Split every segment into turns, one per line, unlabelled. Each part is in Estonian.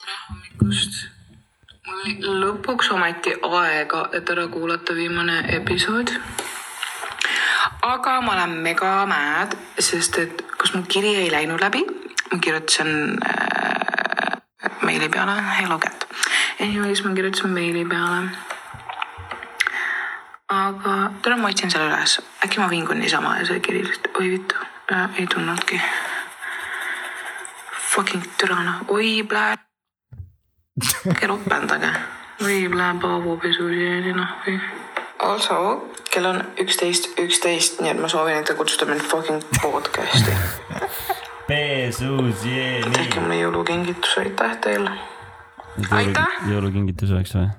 tere hommikust! mul oli lõpuks ometi aega, et ära kuulata viimane episood. aga ma olen mega mad, sest et kas mu kiri ei läinud läbi? ma kirjutasin äh, meili peale, ei lugenud. Anyways, ma kirjutasin meili peale. aga täna ma otsin selle üles, äkki ma vingun niisama ja see kiri lihtsalt, oi vittu äh,, ei tulnudki. Fucking türana, oi plää- ärge ropendage . võib läheb haavupesusi noh või . Also , kell on üksteist , üksteist , nii et ma soovin , et te kutsute mind fucking podcast'i .
peesuus , jee ,
tehke
nii .
mulle jõulukingitus , aitäh teile . Aitäh!
jõulukingitus oleks või ?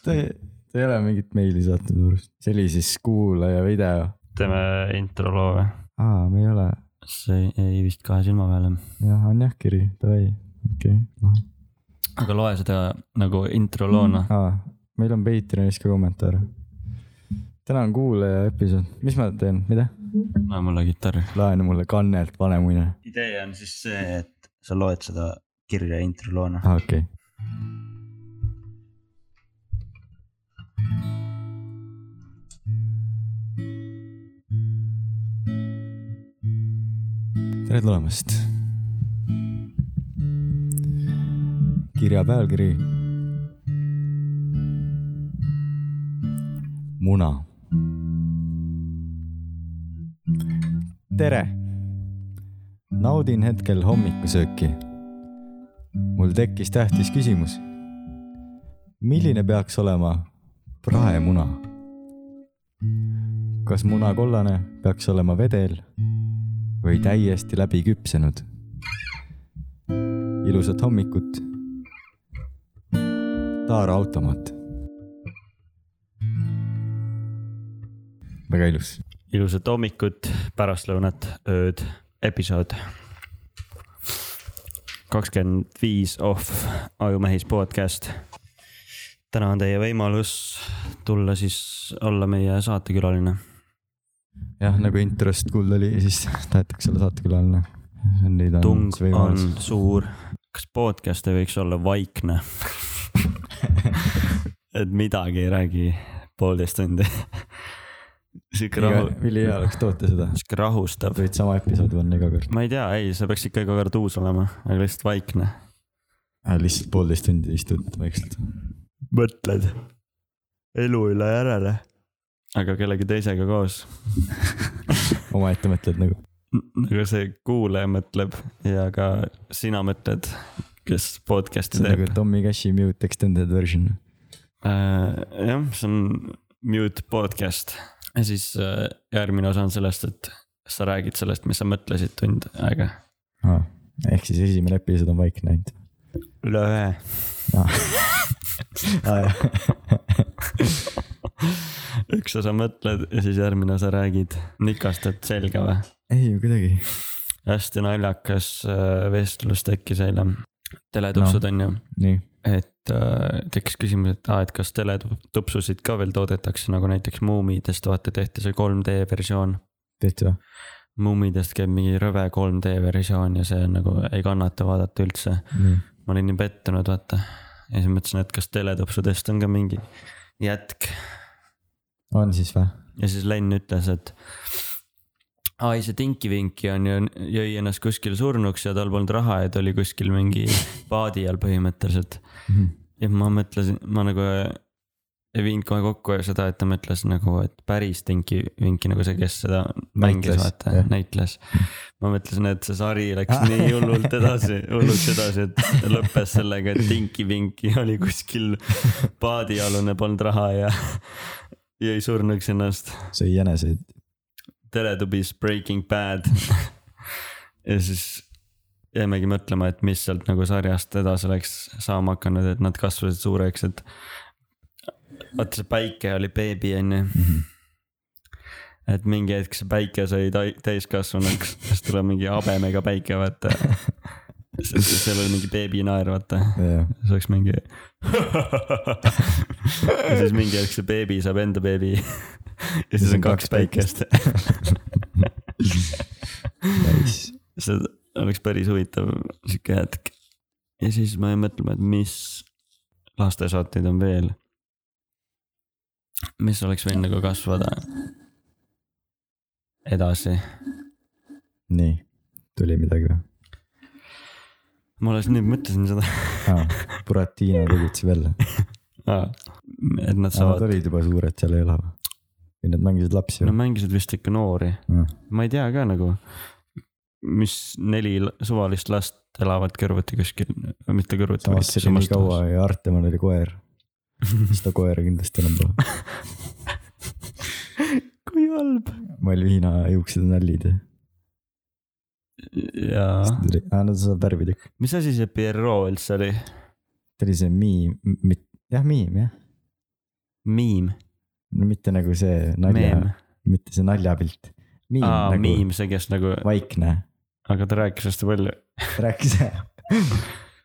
Te , te ei ole mingit meili saatnud minu arust , see oli siis kuulaja video .
teeme intro loo või ?
aa , me ei ole ,
see ei- ei vist kahe silma peale .
jah , on jah kiri , davai , okei okay. .
aga loe seda nagu intro loona .
aa , meil on Patreonis ka kommentaare . täna on kuulaja episood , mis ma teen , mida ?
anna mulle kitarr .
laenu mulle kannelt vanemuine ,
Mm. idee on siis see , et sa loed seda kirja intro loona .
aa Ah, okei okay. . tere tulemast . kirja pealkiri . muna . tere . naudin hetkel hommikusööki . mul tekkis tähtis küsimus . milline peaks olema praemuna ? kas muna kollane peaks olema vedel või täiesti läbi küpsenud. ilusat hommikut . Taara automaat . väga ilus .
ilusat hommikut , pärastlõunat , ööd , episood . kakskümmend viis off Ajumehis podcast . täna on teie võimalus tulla siis , olla meie saatekülaline .
jah , nagu introst kuulda oli , siis tahetakse olla saatekülaline . Neid on
tung on
siis võimalus .
suur . kas podcast ei võiks olla vaikne ? et midagi ei räägi poolteist tundi . sihuke rahu ,
ülihea oleks toota seda .
sihuke rahustav .
võid sama episoodi panna iga kord .
ma ei tea , ei , see peaks ikka iga kord uus olema , aga lihtsalt vaikne .
Äh, lihtsalt poolteist tundi istud vaikselt .
mõtled elu üle järele . aga kellegi teisega koos .
omaette mõtled nagu .
nagu see kuulaja mõtleb ja ka sina mõtled , kes podcast'i
see on
teeb
nagu . Tommy Cashi mute extended version .
Äh, jah , see on mute podcast ja siis äh, järgmine osa on sellest , et sa räägid sellest , mis sa mõtlesid tund aega .
ehk siis esimene episood on vaikne ainult .
üle ühe . üks osa mõtled ja siis järgmine osa räägid , nikastad selga või ?
ei ju kuidagi .
hästi naljakas äh, vestlus tekkis eile . teletupsud no. on ju ,
nii ,
et äh, tekkis küsimus , et aa , et kas teletupsusid ka veel toodetakse nagu näiteks Muumidest vaata tehti see 3D versioon .
tehti või ?
Mummidest käib mingi rõve 3D versioon ja see on nagu ei kannata vaadata üldse .
nii ,
ma olin nii pettunud , vaata . ja siis mõtlesin , et kas teletopsudest on ka mingi jätk
on siis või ?
ja siis Len ütles , et . ai , see Tinki-Vinki on ju , jõi ennast kuskil surnuks ja tal polnud raha ja ta oli kuskil mingi paadi all põhimõtteliselt .
Mhm.
ja ma mõtlesin , ma nagu ei viinud kohe kokku seda , et ta mõtles nagu , et päris Tinki-Vinki nagu see , kes seda mängis ,
Näitles,
vaata
jah. , Ah.
näitles . ma mõtlesin , et see sari läks nii hullult edasi , hullult edasi , et lõppes sellega , et Tinki-Vinki oli kuskil paadialune , polnud raha ja jäi surnuks ennast
sõi jäneseid .
teletubis Breaking Bad . ja siis jäimegi mõtlema , et mis sealt nagu sarjast edasi oleks saama hakanud , et nad kasvasid suureks , et . vaata see päike oli beebi on ju . et mingi hetk see päike sai tai- täiskasvanuks , siis tuleb mingi habemega päike , vaata . seal oli mingi beebinaer , vaata
jah ,
see oleks mingi ja siis mingi hetk see beebi saab enda beebi . ja siis on kaks päikest .
nice .
see oleks päris huvitav sihuke hetk . ja siis ma jäin mõtlema , et mis lastesaateid on veel . mis oleks võinud nagu kasvada edasi .
nii , tuli midagi või
ma alles nüüd mõtlesin seda ,
ah, ? Buratino tegutses välja .
et nad
Nad
saavad ,
olid juba suured seal ei ole või ? või nad mängisid lapsi
no
või ?
mängisid vist ikka noori , ma ei tea ka nagu , mis neli la- suvalist last elavad kõrvuti kuskil , mitte kõrvuti ,
samas
vaid
see oli
samas
nii kaua
kohas .
ja Artemal oli koer . seda koera kindlasti enam pole .
kui halb .
Malvina juuksed on hallid ja .
jaa ,
aa , no ta saab värvida .
mis asi see Pierrot üldse oli ?
ta oli see miim , jah miim jah .
miim ,
no mitte nagu see
meem
nalja ,. mitte see naljapilt . miim
aa ,
nagu
miim , see , kes nagu ,
vaikne ,
aga ta rääkis hästi palju .
rääkis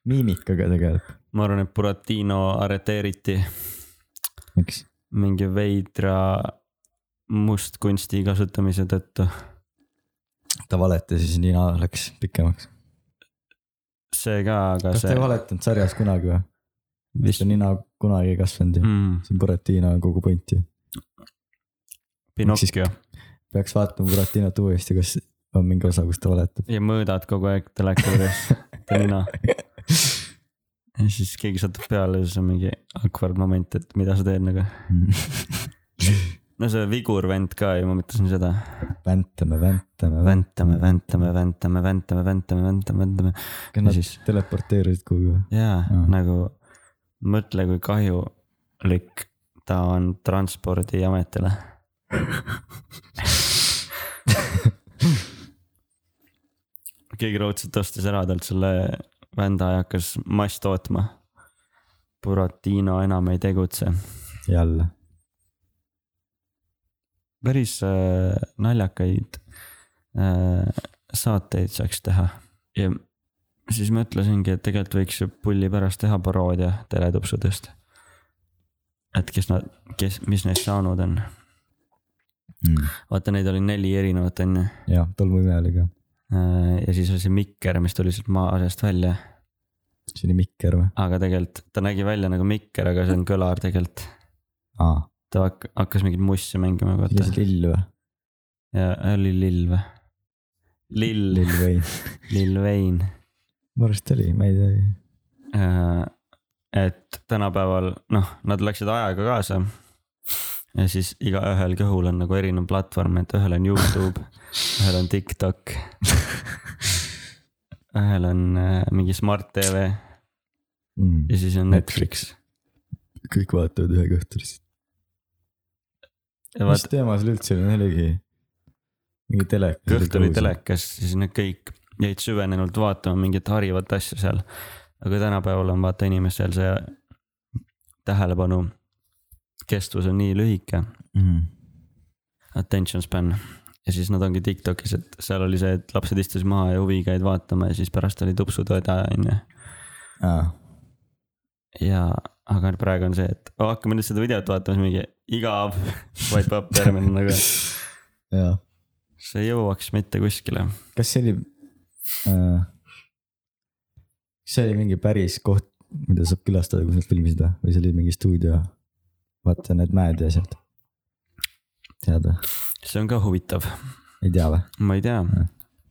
miimikaga tegeleb ,
ma arvan , et Buratino arreteeriti
miks ?
mingi veidra mustkunsti kasutamise tõttu .
ta valetas ja siis nina läks pikemaks .
see ka , aga
kas ta
see
ei valetanud sarjas kunagi või ? vist
vist
on nina kunagi ei kasvanud ju ,
mm,
see on Buratino kogu point ju .
Pinocchio
peaks vaatama Buratinot uuesti , kas on mingi osa , kus ta valetab .
ja mõõdad kogu aeg teleka juures nina . ja siis keegi satub peale ja siis on mingi awkward moment , et mida sa teed nagu . no see Vigur vend ka ju , ma mõtlesin seda .
väntame , väntame ,
väntame , väntame , väntame , väntame , väntame , väntame , väntame .
kas nad
siis-
teleporteerusid kuhugi või ?
jaa ja.
Jaa. ,
nagu mõtle , kui kahjulik ta on transpordiametile . keegi raudselt ostis ära talt selle vända ja hakkas mass tootma . Buratino enam ei tegutse .
jälle ,
päris äh, naljakaid äh, saateid saaks teha ja siis ma ütlesingi , et tegelikult võiks ju pulli pärast teha paroodia teletupsudest . et kes nad , kes , mis neist saanud on ,
mm. .
vaata neid oli neli erinevat onju
jah , tolmuimeja oli ka ,
Äh, ja siis oli see mikker , mis tuli sealt maa seest välja ,
see oli Mikker või ?
aga tegelikult ta nägi välja nagu mikker , aga see on kõlar tegelikult .
aa ,
ta hak- hakkas mingit mussi mängima ,
see oli
vaata
see lill või ?
ja oli lill või ? lill ,
lill või ?
lill vein
mu arust oli , ma ei tea .
Äh, et tänapäeval noh , nad läksid ajaga kaasa . ja siis igaühel kõhul on nagu erinev platvorm , et ühel on Youtube , ühel on Tiktok . ühel on äh, mingi Smart TV ja
Mm.
siis on Netflix .
kõik vaatavad ühe kohta lihtsalt .
ja
mis
vaata ,
teema seal üldse oli , oligi mingi telekas .
kõht oli . telekas , siis nad kõik jäid süvenenult vaatama mingit harivat asja seal . aga tänapäeval on vaata inimestel see tähelepanu kestvus on nii lühike
Mm.
attention span . ja siis nad ongi Tiktokis , et seal oli see , et lapsed istus maha ja huviga jäid vaatama ja siis pärast oli tupsutõde onju .
aa ,
ja , aga praegu on see , et oh, hakkame nüüd seda videot vaatama , siis mingi igav wipe up järgmine nagu .
jaa .
see ei jõuaks mitte kuskile .
kas see oli äh, , kas see oli mingi päris koht , mida saab külastada , kus nad filmisid või , või see oli mingi stuudio ? vaata need mäed ja asjad . tead või ?
see on ka huvitav ,
ei tea või ?
ma ei tea .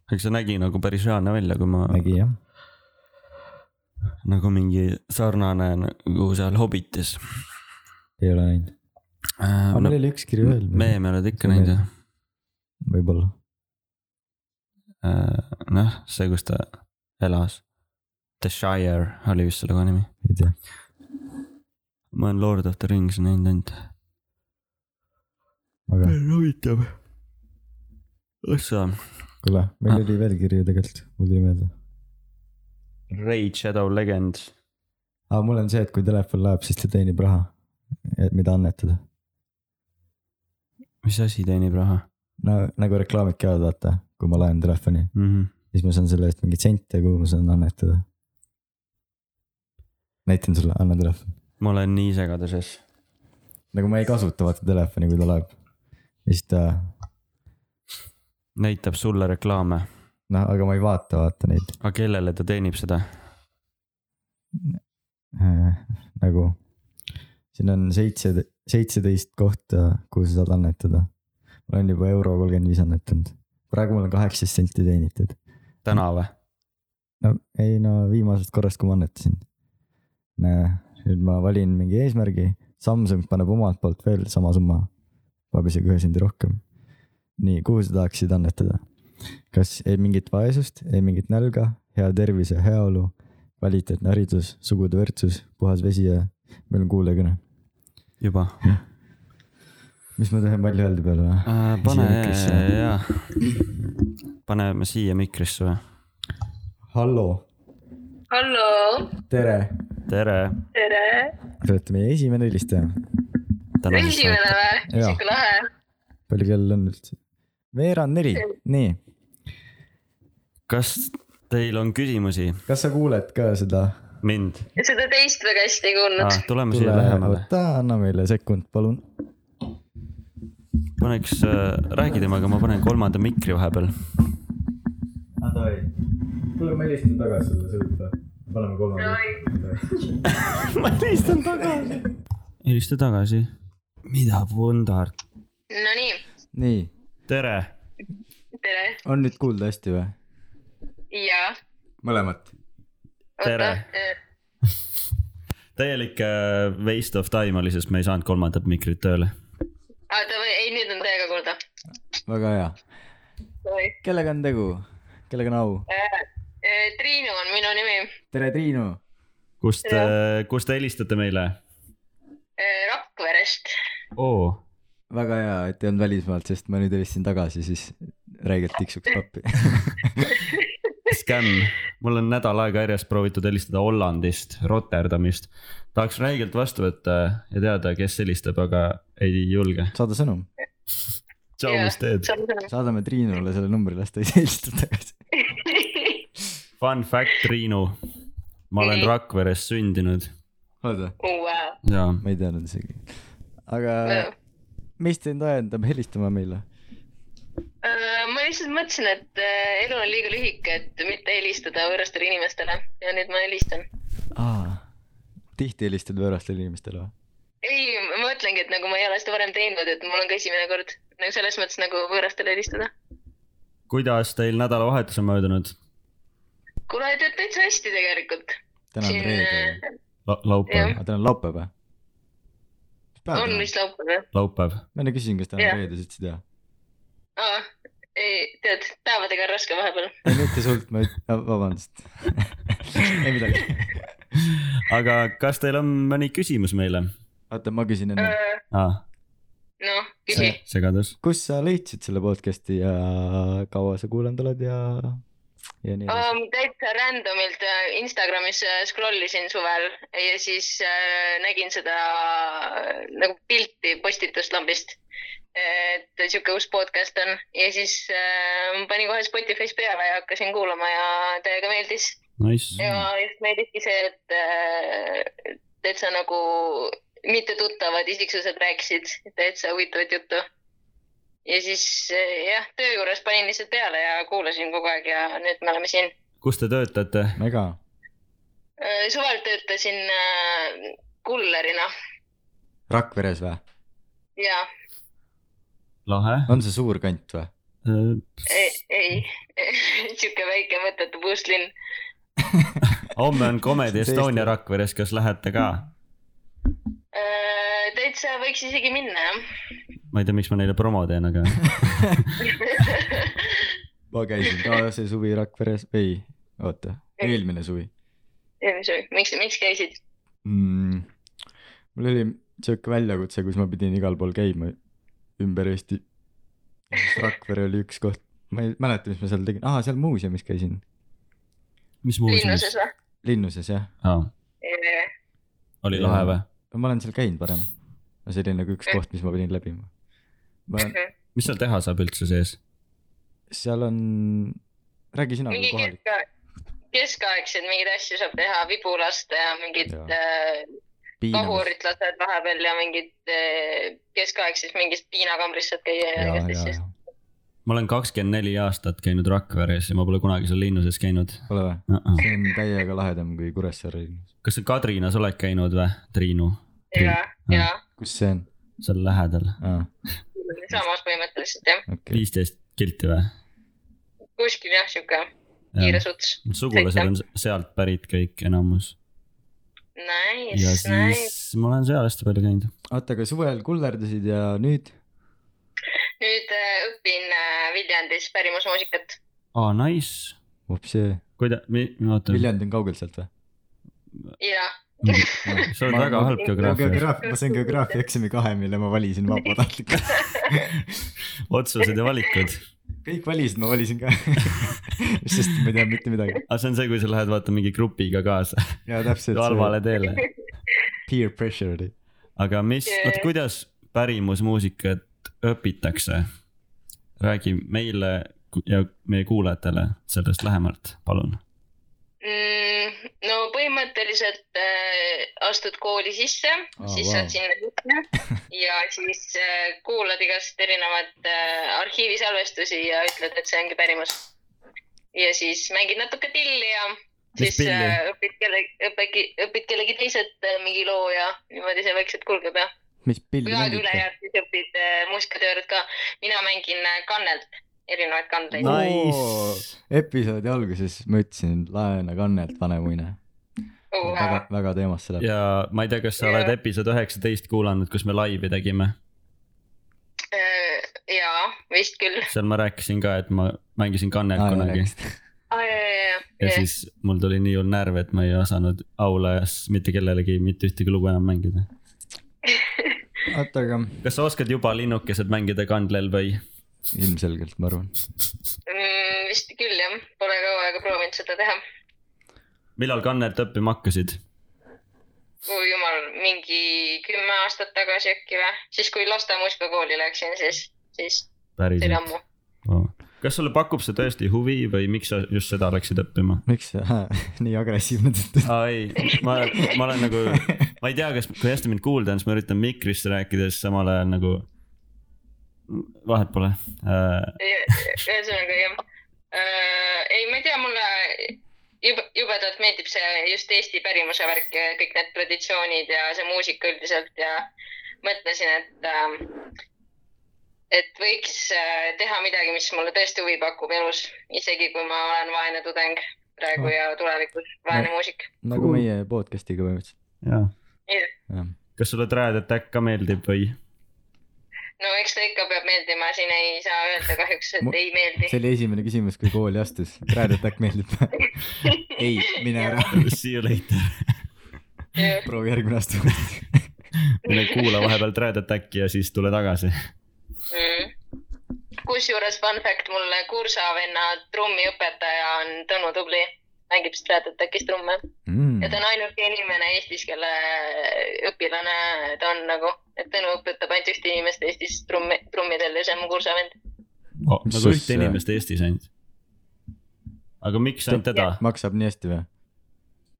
aga see nägi nagu päris reaalne välja , kui ma
nägi jah ,
nagu mingi sarnane nagu seal Hobbitis .
ei ole näinud .
Ah,
aga meil oli üks kiri veel .
meeme oled ikka näinud jah ?
võib-olla ,
noh , see , kus ta elas . The Shire oli vist selle koha nimi .
ei tea .
ma olen Lord of the Rings näinud ainult .
aga
huvitav . ossa .
kuule , meil oli veel kirju tegelikult , mul tuli meelde .
Raid Shadow Legend .
aga mul on see , et kui telefon läheb , siis ta teenib raha , et mida annetada .
mis asi teenib raha
no nagu reklaamid käivad , vaata , kui ma laen telefoni ,
mm ? -hmm.
siis ma saan selle eest mingeid sente , kuhu ma saan annetada . näitan sulle , anna telefon .
ma olen nii segaduses .
nagu ma ei kasuta vaata telefoni , kui ta läheb . ja siis ta
näitab sulle reklaame .
noh , aga ma ei vaata , vaata neid
aga kellele ta teenib seda ?
äh, nagu . siin on seitse , seitseteist kohta , kuhu sa saad annetada . ma olen juba euro kolmkümmend viis annetanud , praegu mul on kaheksateist senti teenitud .
täna või ?
no ei no viimasest korrast , kui ma annetasin . nüüd ma valin mingi eesmärgi , Samsung paneb omalt poolt veel sama summa , paneb isegi ühe sendi rohkem . nii , kuhu sa tahaksid annetada ? kas ei mingit vaesust , ei mingit nälga , hea tervis ja heaolu , kvaliteetne haridus , sugude võrdsus , puhas vesi ja meil on kuulajakõne .
juba
mis ma teen palli öelda peale või ?
äh, ? pane
Siia mikrisse. ,
jaa . paneme siia mikrisse või ?
halloo ,
halloo ,
tere ,
tere .
tere .
te olete meie esimene helistaja .
esimene või ?
Jaa.
sihuke lahe .
palju kell on üldse ? veerand neli , nii
kas teil on küsimusi
kas sa kuuled ka seda ?
mind
seda teist väga hästi ei kuulnud
ah, ? tuleme siia lähemale .
oota , anna meile sekund , palun .
paneks äh, , räägi temaga , ma panen kolmanda mikri vahepeal .
kuule , Ah, ma helistan tagasi sulle , sõita . paneme kolmanda .
ma helistan tagasi . helista tagasi . mida vundart ?
Nonii ,
nii ,
tere .
tere
on nüüd kuulda hästi või ?
ja . Äh,
mõlemat .
Tere. . täielik äh, waste of time oli , sest me ei saanud kolmandat mikrit tööle .
oota , ei nüüd on teiega kuulda .
väga hea . kellega on tegu ? kellega on au ?
Äh, Triinu on minu nimi ,
tere , Triinu .
kust , kust te helistate meile ?
Äh, Rakverest .
oo ,
väga hea , et ei olnud välismaalt , sest ma nüüd helistasin tagasi , siis räigelt tiksuks pappi .
skämm . mul on nädal aega järjest proovitud helistada Hollandist , Rotterdamist . tahaks räigelt vastu võtta ja teada , kes helistab , aga ei julge .
saada sõnum ,
tšau , mis teed ?
saadame Triinule selle numbri , las ta ise helistab tagasi .
Fun fact , Triinu . ma olen
Nii.
Rakveres sündinud
oled või ?
Wow. Äh,
ja
ma ei teadnud isegi . aga
Äh.
mis teid ajendab helistama meile ?
äh, ma lihtsalt mõtlesin , et äh, elu on liiga lühike , et mitte helistada võõrastele inimestele ja nüüd ma helistan .
aa , tihti helistad võõrastele inimestele või ?
ei , ma mõtlengi , et nagu ma ei ole seda varem teinud , et mul on ka esimene kord nagu selles mõttes nagu võõrastele helistada .
kuidas teil nädalavahetus on möödunud
kuule , tead täitsa hästi tegelikult .
täna on
siin
reede ,
äh,
La ? laupäev
Jah. ,
aga täna on laupäev või ?
on vist laupäev jah
laupäv .
ma enne küsisin , kas täna
Jah.
on reede , sa ütlesid jaa .
Aa, ei , tead , päevadega on raske vahepeal .
ei mitte sult , ma üt- , vabandust . ei midagi .
aga kas teil on mõni küsimus meile ?
oota , ma küsin
Äh.
enne .
ah, .
noh , küsi .
segadus .
kus sa leidsid selle podcast'i ja kaua sa kuulanud oled ja , ja nii edasi ?
Um, täitsa randomilt äh, Instagramis äh, scroll isin suvel ja siis äh, nägin seda äh, nagu pilti postitust lambist . et sihuke uus podcast on ja siis äh, ma panin kohe Spotify's peale ja hakkasin kuulama ja täiega meeldis .
Nice .
ja just meeldiski see , et äh, täitsa nagu mittetuttavad isiksused rääkisid täitsa huvitavat juttu . ja siis äh, jah , töö juures panin lihtsalt peale ja kuulasin kogu aeg ja nüüd me oleme siin .
kus te töötate ?
Um,
mega ,
suvel töötasin äh, kullerina
Rakveres või ?
ja
lahe .
on see suur kant või ?
ei, ei. sihuke väike mõttetu puuslinn .
homme on Comedy
See
Estonia
Eesti-
Rakveres , kas lähete ka ?
Äh, täitsa võiks isegi minna
ma ei tea , miks ma neile promo teen , aga
jah .
ma käisin ka see suvi Rakveres , ei , oota , eelmine suvi
miks , miks käisid ?
mm, . mul oli sihuke väljakutse , kus ma pidin igal pool käima ümber Eesti . Rakvere oli üks koht , ma ei mäleta , mis ma seal tegin , aa seal muuseumis käisin ,
mis
linnuses
muuseumis ?
või ?
linnuses jah ,
Ah, oli lahe või ?
ma olen seal käinud varem . no see oli nagu üks koht , mis ma pidin läbima . ma ,
Mhm.
mis seal teha saab üldse sees ?
seal on , räägi sina kui
mingi
Nagu kohalik ,
keska- keskaegseid mingeid asju saab teha , vibulast ja mingid
Jaa.
äh,
piinamas .
kahurit lased vahepeal ja mingid äh, keskaegses mingis piinakambrisse käia ja
ja ,
igast
ja ,
asjast .
ja
ma olen kakskümmend neli aastat käinud Rakveres ja ma pole kunagi seal linnu sees käinud
ole või ?
uh . -uh.
see on täiega lahedam kui Kuressaare linnas .
kas sa Kadrinas oled käinud või , Triinu ?
ja , ja
kus see on ?
seal lähedal ,
aa ,
samas põhimõtteliselt jah ,
okei .
viisteist kilti või ?
kuskil jah , sihuke kiires ots .
sugulased on sealt pärit kõik enamus ja
Nice , nice .
siis ma olen seal hästi palju käinud .
oota , aga suvel kullerdasid ja nüüd ?
nüüd äh, õpin äh, Viljandis pärimusmuusikat .
aa , nice ,
vopsee ,
kuida- , oota ,
Viljandi on kaugel sealt või ?
ja ,
sa oled
Ma-
väga
ma-
halb geograafia ,
geograafia , ma sain geograafiaeksami kahe , mille ma valisin vabatahtlikult .
otsused ja valikud .
kõik valisid , ma valisin ka . sest ma ei tea mitte midagi .
aga see on see , kui sa lähed vaata mingi grupiga kaasa
ja täpselt .
halvale teele .
Peer pressure oli .
aga mis , oot kuidas pärimusmuusikat õpitakse ? räägi meile ku- ja meie kuulajatele sellest lähemalt , palun .
mm, . no põhimõtteliselt äh, astud kooli sisse
Aa,
oh, , siis
vau.
wow. saad sinna sisse ja siis äh, kuulad igast erinevat äh, arhiivisalvestusi ja ütled , et see ongi pärimus . ja siis mängid natuke pilli ja
Mis
siis
pilli?
äh, õpid kellegi , õpid , õpid kellegi teiselt äh, mingi loo ja niimoodi see vaikselt kulgeb ja
mis pilli
kui aeg üle
mängite ?
jääb , siis õpid äh, muusikatöörid ka . mina mängin äh, kannelt , erinevaid kandeid
No.
no. .
Nice. episoodi alguses ma ütlesin , laena kannelt vanemuine . väga
Uh, ,
väga teemasse läheb .
ja ma ei tea , kas sa oled episood üheksateist kuulanud , kus me laivi tegime ,
ja Äh, vist küll .
seal ma rääkisin ka , et ma mängisin kannelt kunagi ja
ja
siis mul tuli nii hull närv , et ma ei osanud aulajas mitte kellelegi mitte ühtegi lugu enam mängida .
oota , aga
kas sa oskad juba linnukesed mängida kandlel või ?
ilmselgelt ma arvan .
mm, vist küll jah , pole kaua aega proovinud seda teha .
millal kannelt õppima hakkasid ?
oi jumal , mingi kümme aastat tagasi äkki või , siis kui laste muusikakooli läksin , siis , siis see oli
päriselt ?
ammu .
kas sulle pakub see tõesti huvi või miks sa just seda läksid õppima ?
miks sa nii agressiivne tõttu ?
aa ei , ma , ma olen nagu , ma ei tea , kas , kui hästi mind kuulda on , siis ma üritan mikrisse rääkida , siis samal ajal nagu . vahet pole äh, .
ühesõnaga jah äh, , ei , ma ei tea , mulle jube , jubedalt meeldib see just Eesti pärimuse värk ja kõik need traditsioonid ja see muusika üldiselt ja mõtlesin , et äh, , et võiks äh, teha midagi , mis mulle tõesti huvi pakub elus , isegi kui ma olen vaene tudeng praegu
Ah.
ja tulevikus vaene muusik .
nagu meie podcast'iga põhimõtteliselt .
jaa ,
jah ,
kas sulle Trad Attack ka meeldib või ?
no eks ta ikka peab meeldima , siin ei saa öelda kahjuks ,
Mu-
et ei meeldi .
see oli esimene küsimus , kui kooli astus . Brad Attack meeldib . ei , mine ära ,
Nagu See you later .
proovi järgmine aasta .
mine kuula vahepeal Trad Attacki ja siis tule tagasi .
mm. . kusjuures fun fact , mulle kursavenna trummiõpetaja on Tõnu Tubli , mängib Stratotekis trumme ja ta on ainuke inimene Eestis , kelle õpilane ta on nagu , et Tõnu õpetab ainult ühte inimest Eestis trummi , trummidel ja see on mu kursavend .
Mis
nagu ühte
asja?
inimest Eestis ainult . aga miks ainult teda ?
maksab nii hästi või ?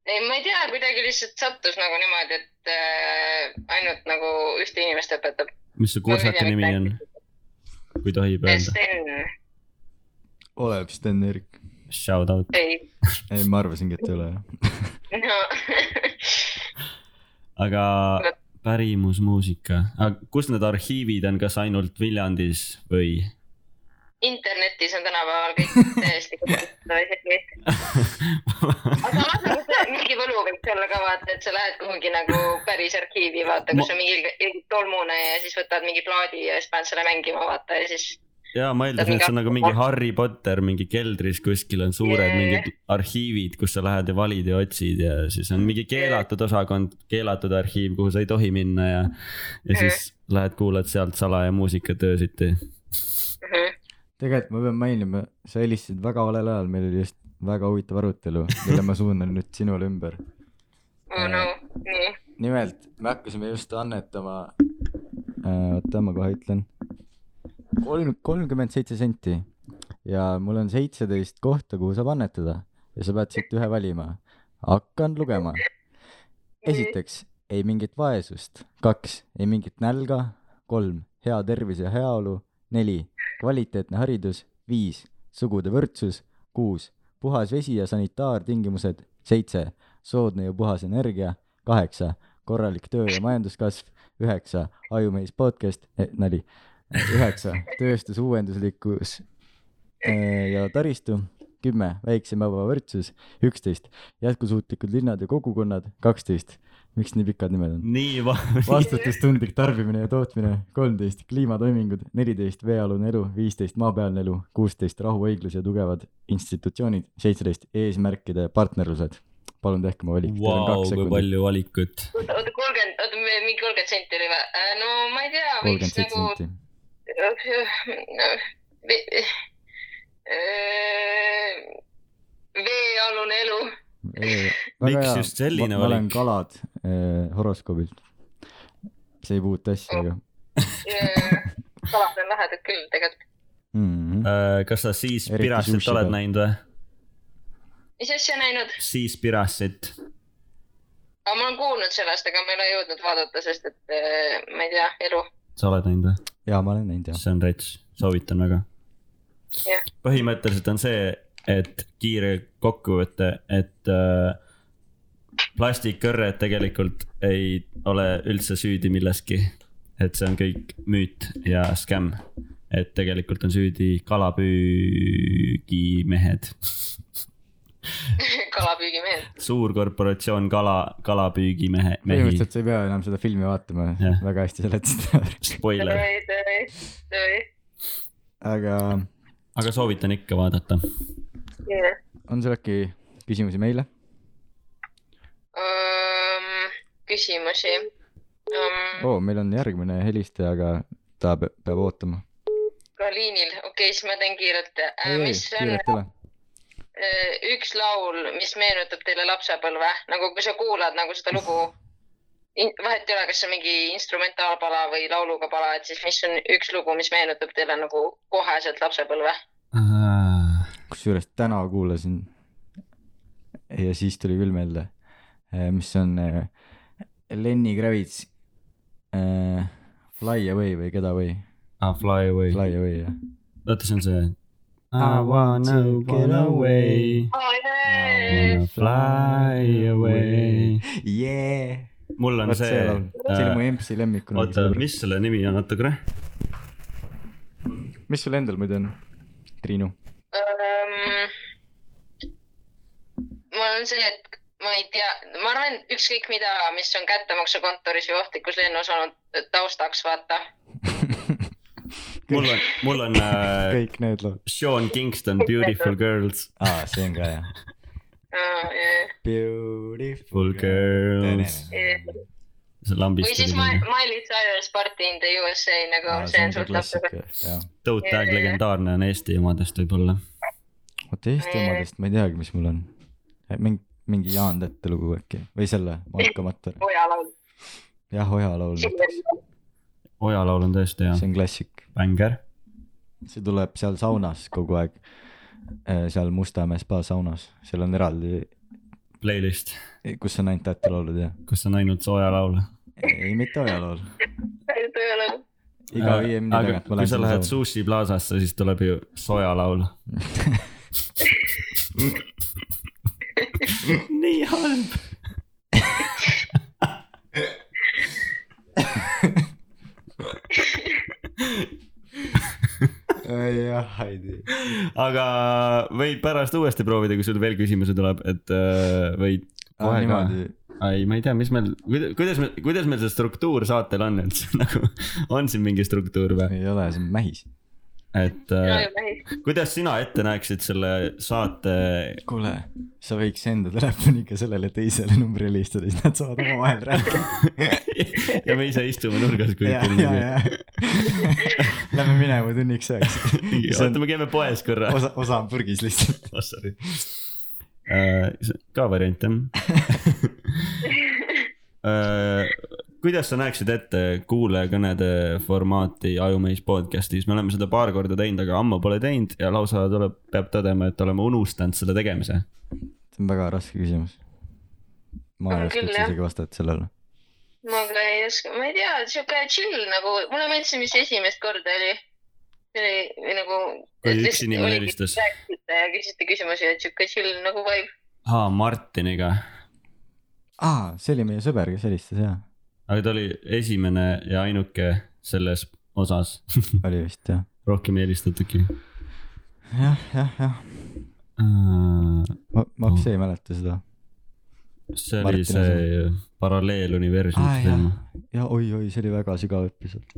ei , ma ei tea , kuidagi lihtsalt sattus nagu niimoodi , et äh, ainult nagu ühte inimest õpetab .
mis su kursate nimi on , kui tohib öelda ?
Sten ,
oleb Sten Erik .
Shout out .
ei ,
ei , ma arvasingi , et ei ole jah .
no
aga pärimusmuusika , aga kus need arhiivid on , kas ainult Viljandis või ?
internetis on tänapäeval kõik täiesti kasutatav isegi aga vaata , kas mingi võlu võiks olla ka vaata , et sa lähed kuhugi nagu päris arhiivi , vaata , kus on mingi ilge- ilge- tolmune ja siis võtad mingi plaadi ja siis paned selle mängima , vaata ja siis .
ja ma eeldasin , et see on nagu mingi Harry Potter mingi keldris kuskil on suured
Jajah.
mingid arhiivid , kus sa lähed ja valid ja otsid ja siis on mingi keelatud osakond , keelatud arhiiv , kuhu sa ei tohi minna ja , ja siis lähed kuulad sealt salaja muusikat öösiti .
tegelikult ma pean mainima , sa helistasid väga valel ajal , meil oli just väga huvitav arutelu , mille ma suunan nüüd sinule ümber .
oh no , nii ,
nimelt , me hakkasime just annetama äh, , oota , ma kohe ütlen , kolm , kolmkümmend seitse senti ja mul on seitseteist kohta , kuhu saab annetada ja sa pead siit ühe valima . hakkan lugema . esiteks , ei mingit vaesust , kaks , ei mingit nälga , kolm , hea tervis ja heaolu , neli , kvaliteetne haridus , viis , sugude võrdsus , kuus , puhas vesi ja sanitaartingimused , seitse , soodne ja puhas energia , kaheksa , korralik töö ja majanduskasv , üheksa , ajumees podcast eh, , nali , üheksa , tööstus , uuenduslikkus eh, ja taristu , kümme , väiksem ja vaba võrdsus , üksteist , jätkusuutlikud linnad ja kogukonnad , kaksteist , miks nii pikad nimed on ?
nii va- ,
vastutustundlik tarbimine ja tootmine , kolmteist kliimatoimingud , neliteist veealune elu , viisteist maapealne elu , kuusteist rahu , õiglus ja tugevad institutsioonid , seitseteist eesmärkide partnerlused . palun tehke oma valik , teil on
vau ,
kaks
kui
sekundit .
palju valikut .
oota , kolmkümmend , oota , mingi kolmkümmend senti oli või ? no ma ei tea ,
kolmkümmend
võiks
seitse
nagu
senti .
Noh, ve- öö, veealune elu ,
Miks just selline
ma olen
valik?
kalad eh, horoskoobilt . see ei puutu asja ju
Oh.
kalad on lahedad küll tegelikult .
mm . -hmm.
Äh, kas sa siis
Eriti
Pirassit
sushi
oled
peal.
näinud või ?
mis asja näinud ?
siis Pirassit .
aga ma olen kuulnud sellest , aga ma ei ole jõudnud vaadata , sest et öö, ma ei tea , elu .
sa oled näinud või ?
ja ma olen näinud jah .
see on rets , soovitan väga
Jah. .
põhimõtteliselt on see , et kiire kokkuvõte , et äh, plastikkõrred tegelikult ei ole üldse süüdi milleski . et see on kõik müüt ja skäm , et tegelikult on süüdi kalapüügimehed .
kalapüügimehed .
suurkorporatsioon kala , kalapüügimehe , mehi ,
põhimõtteliselt sa ei pea enam seda filmi vaatama
Jah. ,
väga hästi seletasid ära .
spoiler ,
oi , oi , oi .
aga
aga soovitan ikka vaadata .
on sul äkki küsimusi meile ?
küsimusi um, ?
oo , Oh, meil on järgmine helistaja , aga ta pe- peab ootama .
Kaliinil , okei okay, , siis ma teen kiirelt .
ei , ei ,
Äh, mis on
kiiret ei ole .
Äh, üks laul , mis meenutab teile lapsepõlve , nagu kui sa kuulad nagu seda lugu , vahet ei ole , kas see on mingi instrumentaalpala või lauluga pala , et siis mis on üks lugu , mis meenutab teile nagu koheselt lapsepõlve ?
kusjuures täna kuulasin ja siis tuli küll meelde , mis on eh, Lenny Kravitz eh, Fly Away või Get Away ,
Ah, fly away .
Fly Away jah .
oota , see on see .
I wanna get away.
fly away .
Yeah ,
mul on
vot
see, äh,
see laul , see oli mu EMS-i lemmik
oota ,
kunagi .
mis selle nimi on , oota korra .
mis sul endal muidu on , Triinu ?
Ehm, mul on see , et ma ei tea , ma arvan , ükskõik mida , mis on kättemaksukontoris või ohtlikus lennus olnud taustaks , vaata .
mul on , mul on äh,
kõik need lood .
Sean Kingston Beautiful girls ,
aa , see on ka jah .
full
Äh,
Beautiful
girls , see lambist
või siis Ma- . Miley Cyrus Party in the USA nagu
Aa,
ah, see on suht lapsepõlve .
klassika , jah .
Toad Tag legendaarne on Eesti omadest võib-olla .
vot Eesti
Äh.
omadest ma ei teagi , mis mul on . mingi , mingi Jaan Tätte lugu äkki või selle Marko Matter ,
Oja laul .
jah , Oja laul , see
Oja laul on tõesti hea ,
on klassik ,
bängar .
see tuleb seal saunas kogu aeg . seal Mustamäe spa saunas , seal on eraldi ,
Playlist ,
kus on ainult Tätte laulud ja ,
kus on ainult see Oja laul .
ei mitte Oja laul ,
Oja laul .
iga viie minuti
aga
tagant ma
kui sa lähed
lähen .
Sushi Plazasse , siis tuleb ju soja laul . nii halb .
jah , ei tea .
aga võid pärast uuesti proovida , kui sul veel küsimusi tuleb , et äh, võid .
aa , Ah, niimoodi ,
ei , ma ei tea , mis meil , kuidas me , kuidas meil see struktuur saatel on , et see nagu on siin mingi struktuur või ,
ei ole , see on mähis .
et äh, kuidas sina ette näeksid selle saate
kuule , sa võiks enda telefoniga sellele teisele numbrile helistada , siis nad saavad omavahel rääkida .
ja me ise istume nurgas
ja ,
kõik
ja , ja . Lähme minema tunniks ajaks . see
oota ,
on
me käime poes korra .
osa , osa on purgis lihtsalt .
oh, . sorry uh, . ka variant jah uh, . kuidas sa näeksid ette kuulajakõnede formaati Ajumees podcast'is , me oleme seda paar korda teinud , aga ammu pole teinud ja lausa tuleb , peab tõdema , et oleme unustanud selle tegemise .
see on väga raske küsimus . ma ei
On
oska
küll,
üldse
jah.
isegi vastata sellele .
ma ka ei oska , ma ei tea , siuke chill nagu , mulle meeldis , mis esimest korda oli . või nagu .
Kui üks inimene helistas.
rääkisite ja küsisite küsimusi , et sihuke chill nagu vibe .
aa , Martiniga ,
aa , see oli meie sõber , kes helistas jaa ,
aga ta oli esimene ja ainuke selles osas ,
oli vist jah .
rohkem ei helistatudki .
jah , jah , jah , ma , ma üldse ei mäleta seda .
Äh, see
Martin
oli see
aa
paralleeluniversumite
jah
teema ,,
ja oi-oi , see oli väga sügav episood .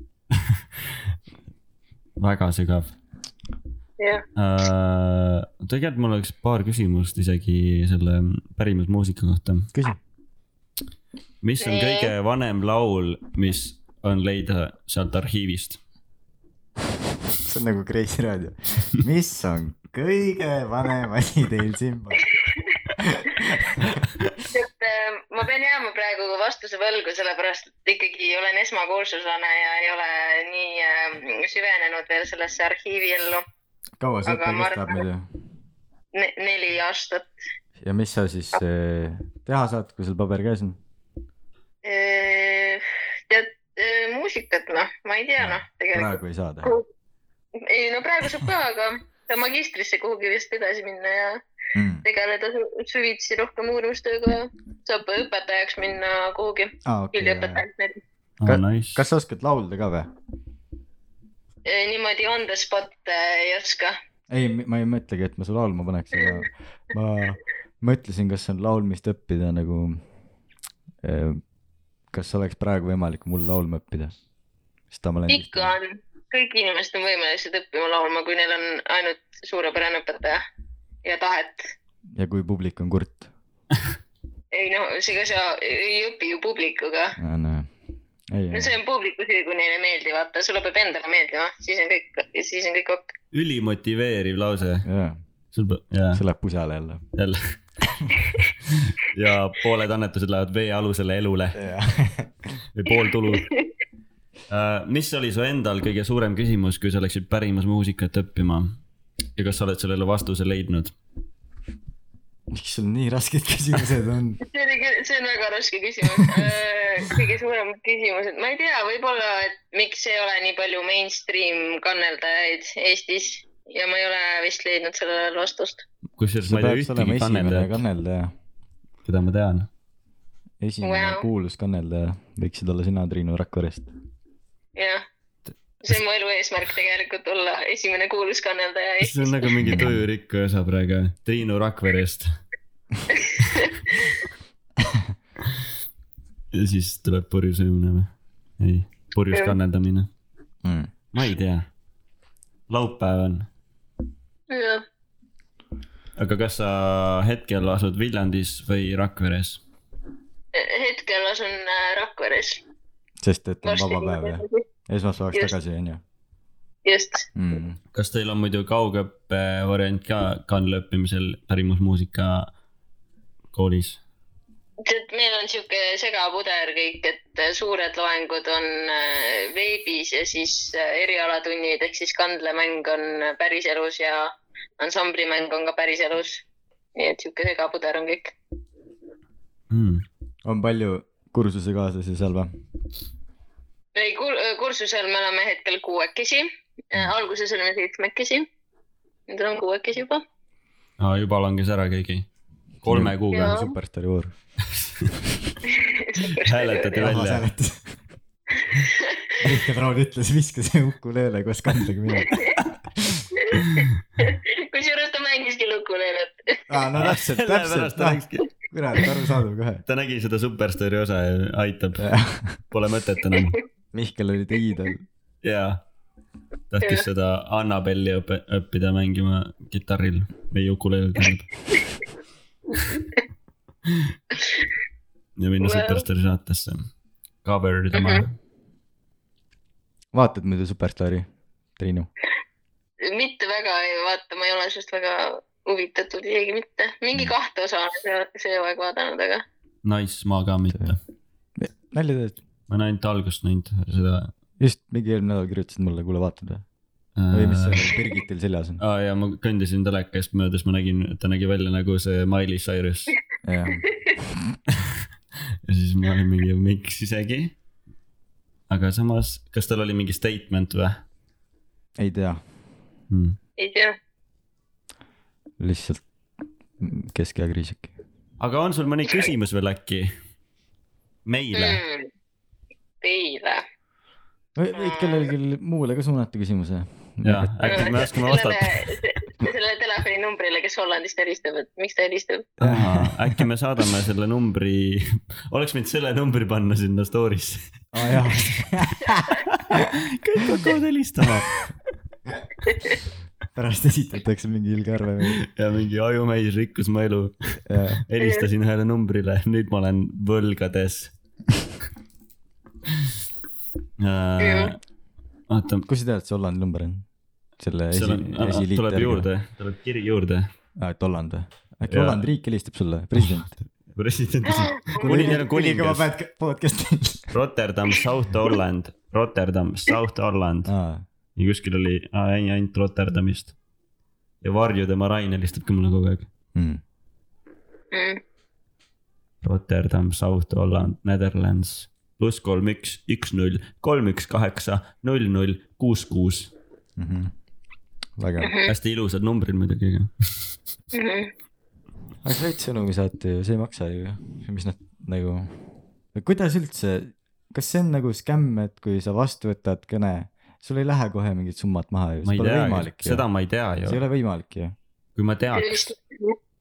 väga sügav .
jah ,
Äh, tegelikult mul oleks paar küsimust isegi selle pärimusmuusika kohta .
küsi .
mis on
Nii.
kõige vanem laul , mis on leida sealt arhiivist ?
see on nagu Kreisi raadio . mis on kõige vanem asi teil siin ?
et äh, ma pean jääma praegu vastuse võlgu , sellepärast et ikkagi olen esmakursuslane ja ei ole nii äh, süvenenud veel sellesse arhiiviellu
kaua see
Aga
õpe
ma
kestab
arvan-
muidu ?
ne neli aastat .
ja mis sa siis eh, teha saad , kui sul paber käes on ?
Äh, tead , muusikat noh , ma ei tea noh , tegelikult .
praegu ei saa teha
ei no praegu saab ka , aga saab magistrisse kuhugi vist edasi minna ja
mm. .
tegeleda su- süvitsi rohkem uurimustööga ja saab õpetajaks minna kuhugi ,
aa , Ah, okei .
üldõpetajaks näiteks .
Ah, nice.
kas sa oskad laulda ka või ?
Äh, niimoodi on the spot äh, ei oska .
ei , ma ei mõtlegi , et ma su laulma paneks , aga ma mõtlesin , kas on laulmist õppida nagu . kas oleks praegu võimalik mul laulma õppida ? seda ma olen .
ikka on , kõik inimesed on võimelised õppima laulma , kui neil on ainult suurepärane õpetaja ja tahet .
ja kui publik on kurt .
ei no , ega sa ei õpi ju publikuga
äh, ei ,
no see on publiku süü , kui neile ei meeldi , vaata , sulle peab endale meeldima , siis on kõik , siis on kõik ok .
ülimotiveeriv lause .
jaa ,
sul peab , jaa ,
see läheb pusale jälle .
jälle . ja pooled annetused lähevad veealusele elule või pool tulu uh, . mis oli su endal kõige suurem küsimus , kui sa läksid pärimusmuusikat õppima ? ja kas sa oled sellele vastuse leidnud ?
miks sul nii rasked küsimused on ?
see oli küll , see on väga raske küsimus . kõige suurem küsimus , et ma ei tea , võib-olla , et miks ei ole nii palju mainstream kanneldajaid Eestis ja ma ei ole vist leidnud sellele vastust .
kusjuures
sa
ma ei tea
peaks olema
ühtegi
esimene
kanneldajat ,
kanneldaja ,
keda ma tean .
esimene
Wow.
kuulus kanneldaja , võiksid olla sina , Triinu Rakverest .
jah , see on mu elu eesmärk tegelikult , olla esimene kuulus kanneldaja
see
Eestis
on . nagu mingi tujurikkuja osa praegu , Triinu Rakverest . ja siis tuleb purjus õimne või ? ei , purjus
Jah.
kanneldamine .
Mm.
ma ei tea . laupäev on ,
jah ,
aga kas sa hetkel asud Viljandis või Rakveres ?
hetkel asun äh, Rakveres .
sest et on vaba päev ja esmaspäevaks
Just.
tagasi on ju
just ,
mm. .
kas teil on muidu kaugõppe variant ka kaanla õppimisel pärimusmuusika koolis ?
tead , meil on sihuke segapuder kõik , et äh, suured loengud on äh, veebis ja siis äh, erialatunnid ehk siis kandlemäng on äh, päriselus ja ansamblimäng on ka päriselus . nii et sihuke segapuder on kõik .
Mm.
on palju kursusekaaslasi seal või ?
ei , kursusel me oleme hetkel kuuekesi ,
Mm.
alguses olime seitsmekesi . nüüd on kuuekesi juba .
Ah, juba langes ära keegi , kolme kuuga
Jaa.
superstaari voor .
hääletati välja .
Richard Raul ütles , viska see ukulele koos kandega minema .
kusjuures ta mängiski lukuleelet .
aa , no täpselt , täpselt , noh , kurat , arusaadav kohe .
ta nägi seda Superstaari osa ja aitab , pole mõtet enam .
Mihkel oli ta iidol .
jaa , tahtis seda Annabelli õpe- õppida mängima kitarril või ukuleel tähendab . ja minna
Well.
Superstaari saatesse , cover ida maha .
vaatad muidu Superstaari , Triinu ?
mitte väga ei vaata , ma ei ole sellest väga huvitatud isegi mitte .
Mm.
mingi kahte osa olen see- see aeg vaadanud , aga
Nice , ma ka mitte ,
nalja teed ?
ma olen ainult algust näinud seda .
just mingi eelmine nädal kirjutasid mulle , kuule vaatad või ? või mis seal Birgitil seljas on ?
äh, aa ah, jaa , ma kõndisin teleka eest möödas , ma nägin , ta nägi välja nagu see Miley Cyrus
jah ,
ja siis ma olin mingi miks isegi . aga samas , kas tal oli mingi statement või ?
ei tea ,
mm. .
ei tea .
lihtsalt keskeakriis äkki .
aga on sul mõni küsimus veel äkki ? meile mm. ?
Hmm. Teile .
võid kellelgi muule ka suunata küsimuse .
jaa , äkki me oskame vastata .
sellele telefoninumbrile , kes Hollandist helistab , et miks ta helistab ?
äkki me saadame selle numbri , oleks võinud selle numbri panna sinna story'sse .
aa jah ,
kõik hakkavad helistama
pärast esitatakse mingi ilge arve või .
ja mingi ajumeis rikkus mu elu . helistasin ühele numbrile , nüüd ma olen võlgades . oota ,
kust sa tead , et see Hollandi number on ? selle esi
seal on ,,
esiliit .
tuleb . juurde , tuleb kiri juurde .
aa , et Holland või ? äkki
Jaa.
Hollandi riik helistab sulle , president ?
president , kuningas on kuningas ,
podcast'i .
Rotterdam , South Holland , Rotterdam , South Holland
aa ,
ja kuskil oli , ei ainult Rotterdamist . ja Varju tema Rain helistab ka mulle kogu aeg .
mm.
Rotterdam , South Holland , Netherlands , pluss kolm , üks , üks , null , kolm , üks , kaheksa , null , null , kuus , kuus . Mhm.
väga
Mhm.
hea .
hästi ilusad numbrid muidugi , aga
aga said sõnumi saata ju , see ei maksa ju , mis nad nagu , kuidas üldse , kas see on nagu skämm , et kui sa vastu võtad kõne , sul ei lähe kohe mingit summat maha ju ,
ma
see
ei
pole
tea ,
võimalik ju
seda , ma ei tea
see ei
ju ,
ole võimalik ju .
kui ma teaks ,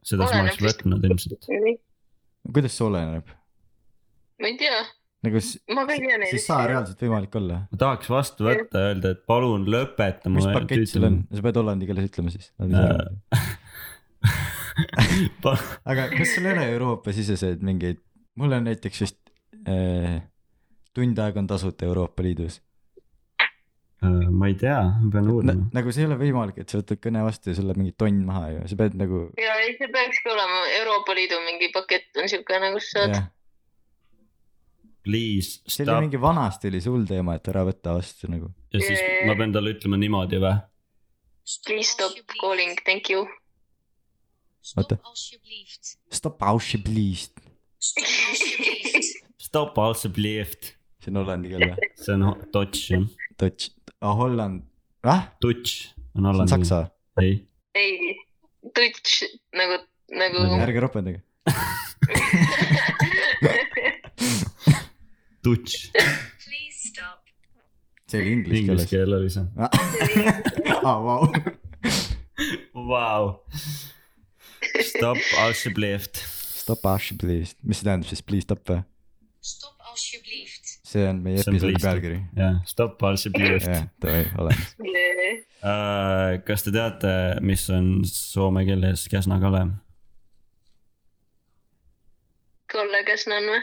seda siis ma oleks võtnud ilmselt .
kuidas see oleneb ,
ma ei tea ,
nagu s-
ma ka ei tea neid
siis saa . reaalselt võimalik olla .
ma tahaks vastu võtta , öelda , et palun lõpeta mu
mis pakett sul on , sa pead hollandi keeles ütlema siis . aga
Pa-
kas sul ei ole Euroopa-siseseid mingeid , mul on näiteks vist äh, tund aega on tasuta Euroopa Liidus
Äh, ma ei tea , ma pean
Na,
uurima .
nagu see ei ole võimalik , et sa võtad kõne vastu ja sul läheb mingi tonn maha ju , sa pead nagu .
ja ei , see peakski olema Euroopa Liidu mingi pakett on siukene , kus saad .
see
Please
oli
stop
mingi vanasti oli see hull teema , et ära võta vastu nagu .
ja siis ma pean talle ütlema niimoodi või ?
Please stop calling , thank you .
Oota.
Stop alsjeblieft.
Stop aussi pliist ,
Stop alsjeblieft.
Stop also believed ,
see on hollandi keel või ?
see on ho- Dutch jah ,
Dutch , Holland , ah ,
Dutch on
see on
hollandi .
saksa ,
ei ,
ei , Dutch nagu , nagu .
ärge ropendage .
Dutch ,
Please stop.
see oli inglise
inglise
keeles .
keel oli see .
aa , vau .
Vau , stop also believed .
Stop aussi pliist , mis see tähendab siis , please stop või ?
Stop alsjeblieft.
see on meie
See on
episoodi
please stop.
pealkiri .
jah , stop also believed .
jah , davai , olemas .
Äh, kas te teate , mis on soome keeles käsnakale ?
Kalle Käsnan või ?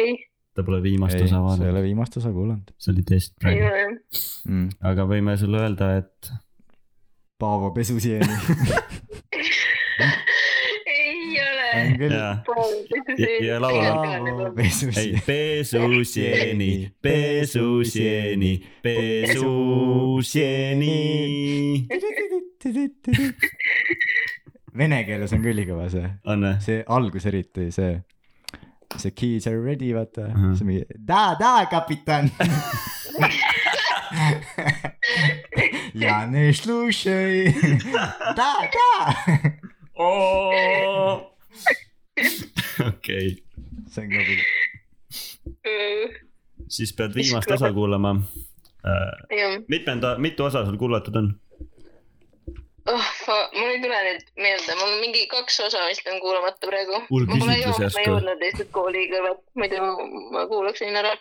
ei ,
ta pole viimast
ei ,
osa
see ei
vaadanud ,
ole viimast osa kuulanud
see oli test
ei
praegu ,
ole .
mm. .
aga võime sulle öelda , et
Paavo pesuseeni .
ei
on
ole .
küll .
jaa ,
Paavo
ei
pesuseeni ,.
pesuseeni , pesuseeni , pesuseeni .
Vene keeles on küll kõva see ,
on või ?
see algus eriti see , see keys are ready , vaata mm ,
Mhm.
-hmm. see mingi da , da , kapitan . ja ne slušaj , da , da .
okei ,
see on ka küll ,
siis pead viimast osa kuulama .
jah ,
mitmenda , mitu osa sul kuulatud on ?
oh , mul ei tule nüüd meelde , mul on mingi kaks osa vist on kuulamata praegu .
Mul
ma pole
küsitlus
jõudnud , ma
järsku.
ei jõudnud lihtsalt kooli kõrvalt , muidu ma kuulaksin ära .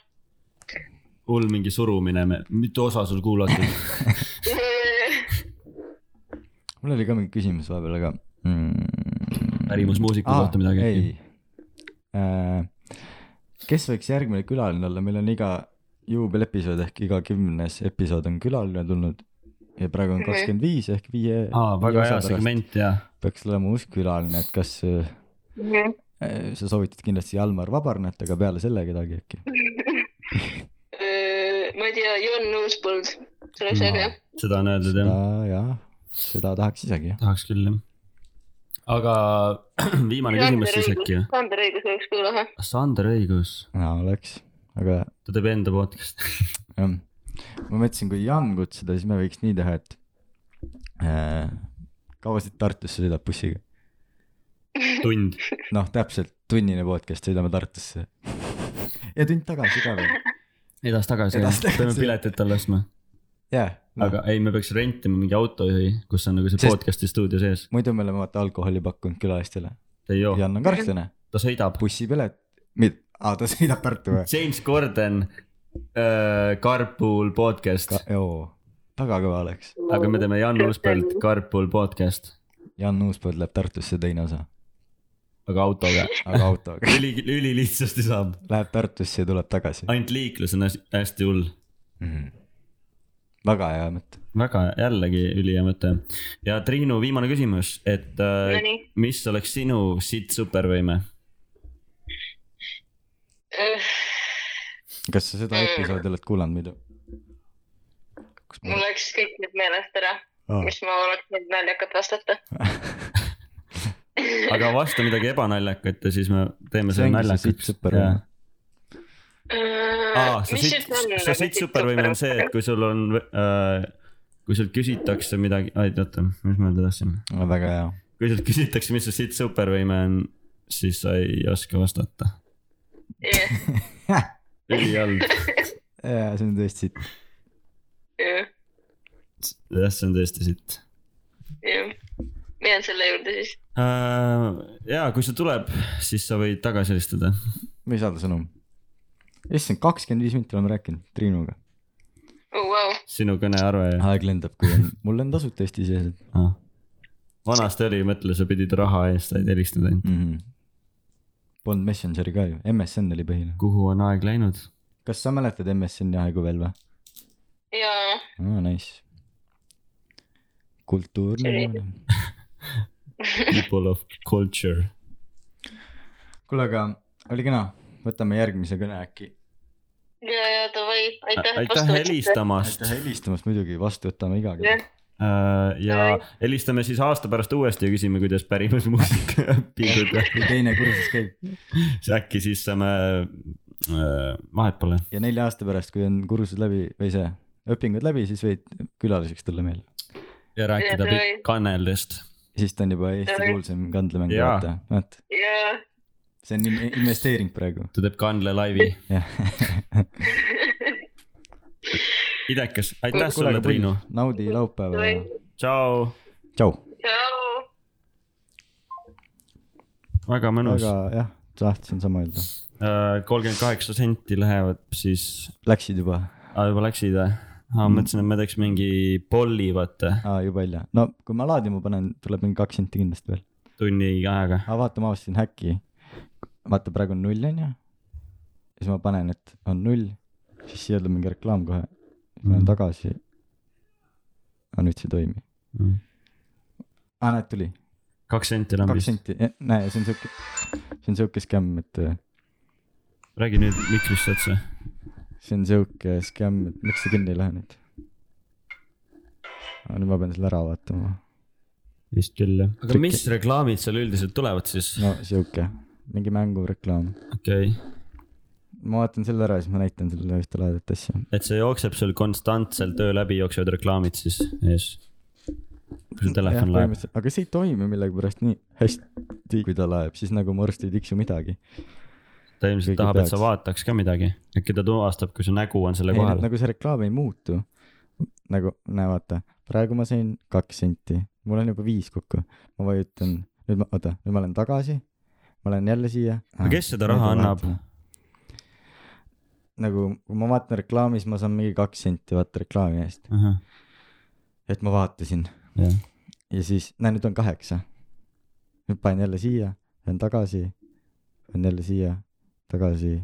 hull mingi surumine , mitu osa sul kuulatud ?
mul oli ka mingi küsimus vahepeal , aga mm. .
Pärimusmuusiku kohta midagi äkki?
äkki ? Ah, Äh, kes võiks järgmine külaline olla , meil on iga juubelepisood ehk iga kümnes episood on külaline tulnud ja praegu on
Mhm.
kakskümmend viis ehk viie .
aa , väga hea . segment ja .
peaks olema uus külaline , et kas äh, sa soovitad kindlasti Jalmar Vabarnat , aga peale selle kedagi äkki ?
ma ei tea , Jon Uuspõld , see oleks
No.
äge .
seda on öeldud jah
seda . jah , seda tahaks isegi jah .
tahaks küll jah . aga viimane küsimus siis äkki .
Sander Õigus oleks ka lahe .
Sander Õigus ,
oleks , aga
ta teeb enda podcast'i .
jah , ma mõtlesin , kui Jan kutsuda , siis me võiks nii teha , et äh, kaua siit Tartusse sõidab bussiga ?
tund .
noh , täpselt tunnine podcast , sõidame Tartusse . ja tund tagasi ka veel .
edasi-tagasi ,
Edasi-tagasi.
peame piletid talle ostma .
jaa , noh,
aga ei , me peaks rentima mingi autojuhi , kus on nagu see
Sest-
podcast'i stuudio sees .
muidu me oleme vaata alkoholi pakkunud külalistele .
ta ei joo ,
Jan on karstlane ,
ta sõidab .
bussipilet , mid- , aa ta sõidab Tartu või ?
James Corden äh, , Carpool podcast ,
joo , väga kõva oleks .
aga me teeme Jan Uuspõld , Carpool podcast ,
Jan Uuspõld läheb Tartusse teine osa ,
aga autoga .
aga autoga .
üli , ülilihtsasti saab ,
Läheb Tartusse ja tuleb tagasi
ainult liiklus on hästi- hästi hull .
mm. . väga hea mõte .
väga jällegi ülihea mõte . ja Triinu , viimane küsimus , et äh,
Nonii ,
mis oleks sinu sitt supervõime ?
kas sa seda episoodi oled kuulanud muidu ?
mul läks kõik nüüd meelest ära , mis ma oleks võinud naljakalt vastata .
aga vasta midagi ebanaljakat ja siis me teeme selle naljakaks .
supervõime .
Äh,
aa , Ah, sa siit , sa nagu
nagu
siit supervõime on see , et kui sul on äh, , kui sult küsitakse midagi , oota , mis ma öelda tahtsin ,
väga hea .
kui sult küsitakse , mis su siit supervõime on , siis sa ei oska vastata .
jah ,
ülihalb ,
jaa , see on tõesti siit .
jah ,
jah , see on tõesti sitt
jah . jään selle juurde siis .
äh, . ja kui see tuleb , siis sa võid tagasi helistada .
mis on sõnum ? issand , kakskümmend viis minutit oleme rääkinud Triinuga .
Oh, wow.
sinu kõnearve ja
aeg lendab , kui on , mul on tasuta Eesti sees
ah. . vanasti oli , mõtle , sa pidid raha eest said helistada ainult .
mm . -hmm. Polnud Messengeri ka ju , MSN oli põhiline .
kuhu on aeg läinud ?
kas sa mäletad MSN-i aegu veel või ?
ja
aa , nice . kultuurne
See-
maailm .
People of culture .
kuule , aga oli kena , võtame järgmise kõne äkki .
ja , ja davai , aitäh .
aitäh . helistamast
aitäh helistamast muidugi , vastu võtame iga
Jah.
kell .
Äh, ja
Bye.
helistame siis aasta pärast uuesti ja küsime , kuidas pärimus muusika õpingud
kui teine kursus käib
läks . äkki siis saame äh, vahet pole .
ja nelja aasta pärast , kui on kursused läbi või see õpingud läbi , siis võid külaliseks tulla meile .
ja rääkida
Jah,
pikk- kaneldest .
siis ta on juba Eesti
Äh.
Tere.
kuulsam kandlemäng ,
Jaa.
vaata , vaat .
ja ,
see on in- investeering praegu ,
ta teeb kanlelaivi .
jah .
idekas , aitäh sulle , Triinu .
naudi laupäeva ja
tšau .
tšau .
tšau .
väga mõnus .
aga jah , tahtsin sama öelda .
kolmkümmend kaheksa senti lähevad siis ,
Läksid juba ?
juba läksid või ? aa ,
Mm.
ma mõtlesin , et me teeks mingi polli , vaata ,
aa , juba hilja . no kui ma laadima panen , tuleb mingi kaks senti kindlasti veel .
tunni ajaga .
aga vaata , ma avastasin häkki . vaata , praegu on null , on ju . siis ma panen , et on null , siis siia tuleb mingi reklaam kohe . siis ma lähen
Mhm.
tagasi . aga nüüd see ei toimi .
Mm.
aa , näed , tuli .
kaks senti
kaks
lambist .
senti , näe , see on siuke , see on siuke skämm , et äh,
räägi nüüd mikrisse otsa .
see on siuke skämm , et miks see kinni ei lähe nüüd . aga nüüd ma pean selle ära vaatama .
vist küll jah . aga
Trükki.
mis reklaamid seal üldiselt tulevad siis ?
no siuke , mingi mängureklaam .
okei okay. ,
ma vaatan selle ära , siis ma näitan sulle ühte lahedat asja .
et see jookseb sul konstantselt töö läbi jooksevad reklaamid siis ees . kui su telefon laeb .
aga see ei toimi millegipärast nii hästi , kui ta laeb , siis nagu mu arst ei tiksu midagi .
ta ilmselt
Keegi
tahab , et
peaks.
sa vaataks ka midagi . äkki ta tuvastab , kui su nägu on selle kohal .
nagu see reklaam ei muutu . nagu , näe vaata , praegu ma sain kaks senti , mul on juba viis kokku . ma vajutan , nüüd ma , oota , nüüd ma lähen tagasi . ma lähen jälle siia . Ah,
aga kes seda raha annab ??
nagu , kui ma vaatan reklaami , siis ma saan mingi kaks senti vaata reklaami eest , et ma vaatasin
jah ,
ja siis , näe nüüd on kaheksa . nüüd panen jälle siia , lähen tagasi , lähen jälle siia , tagasi .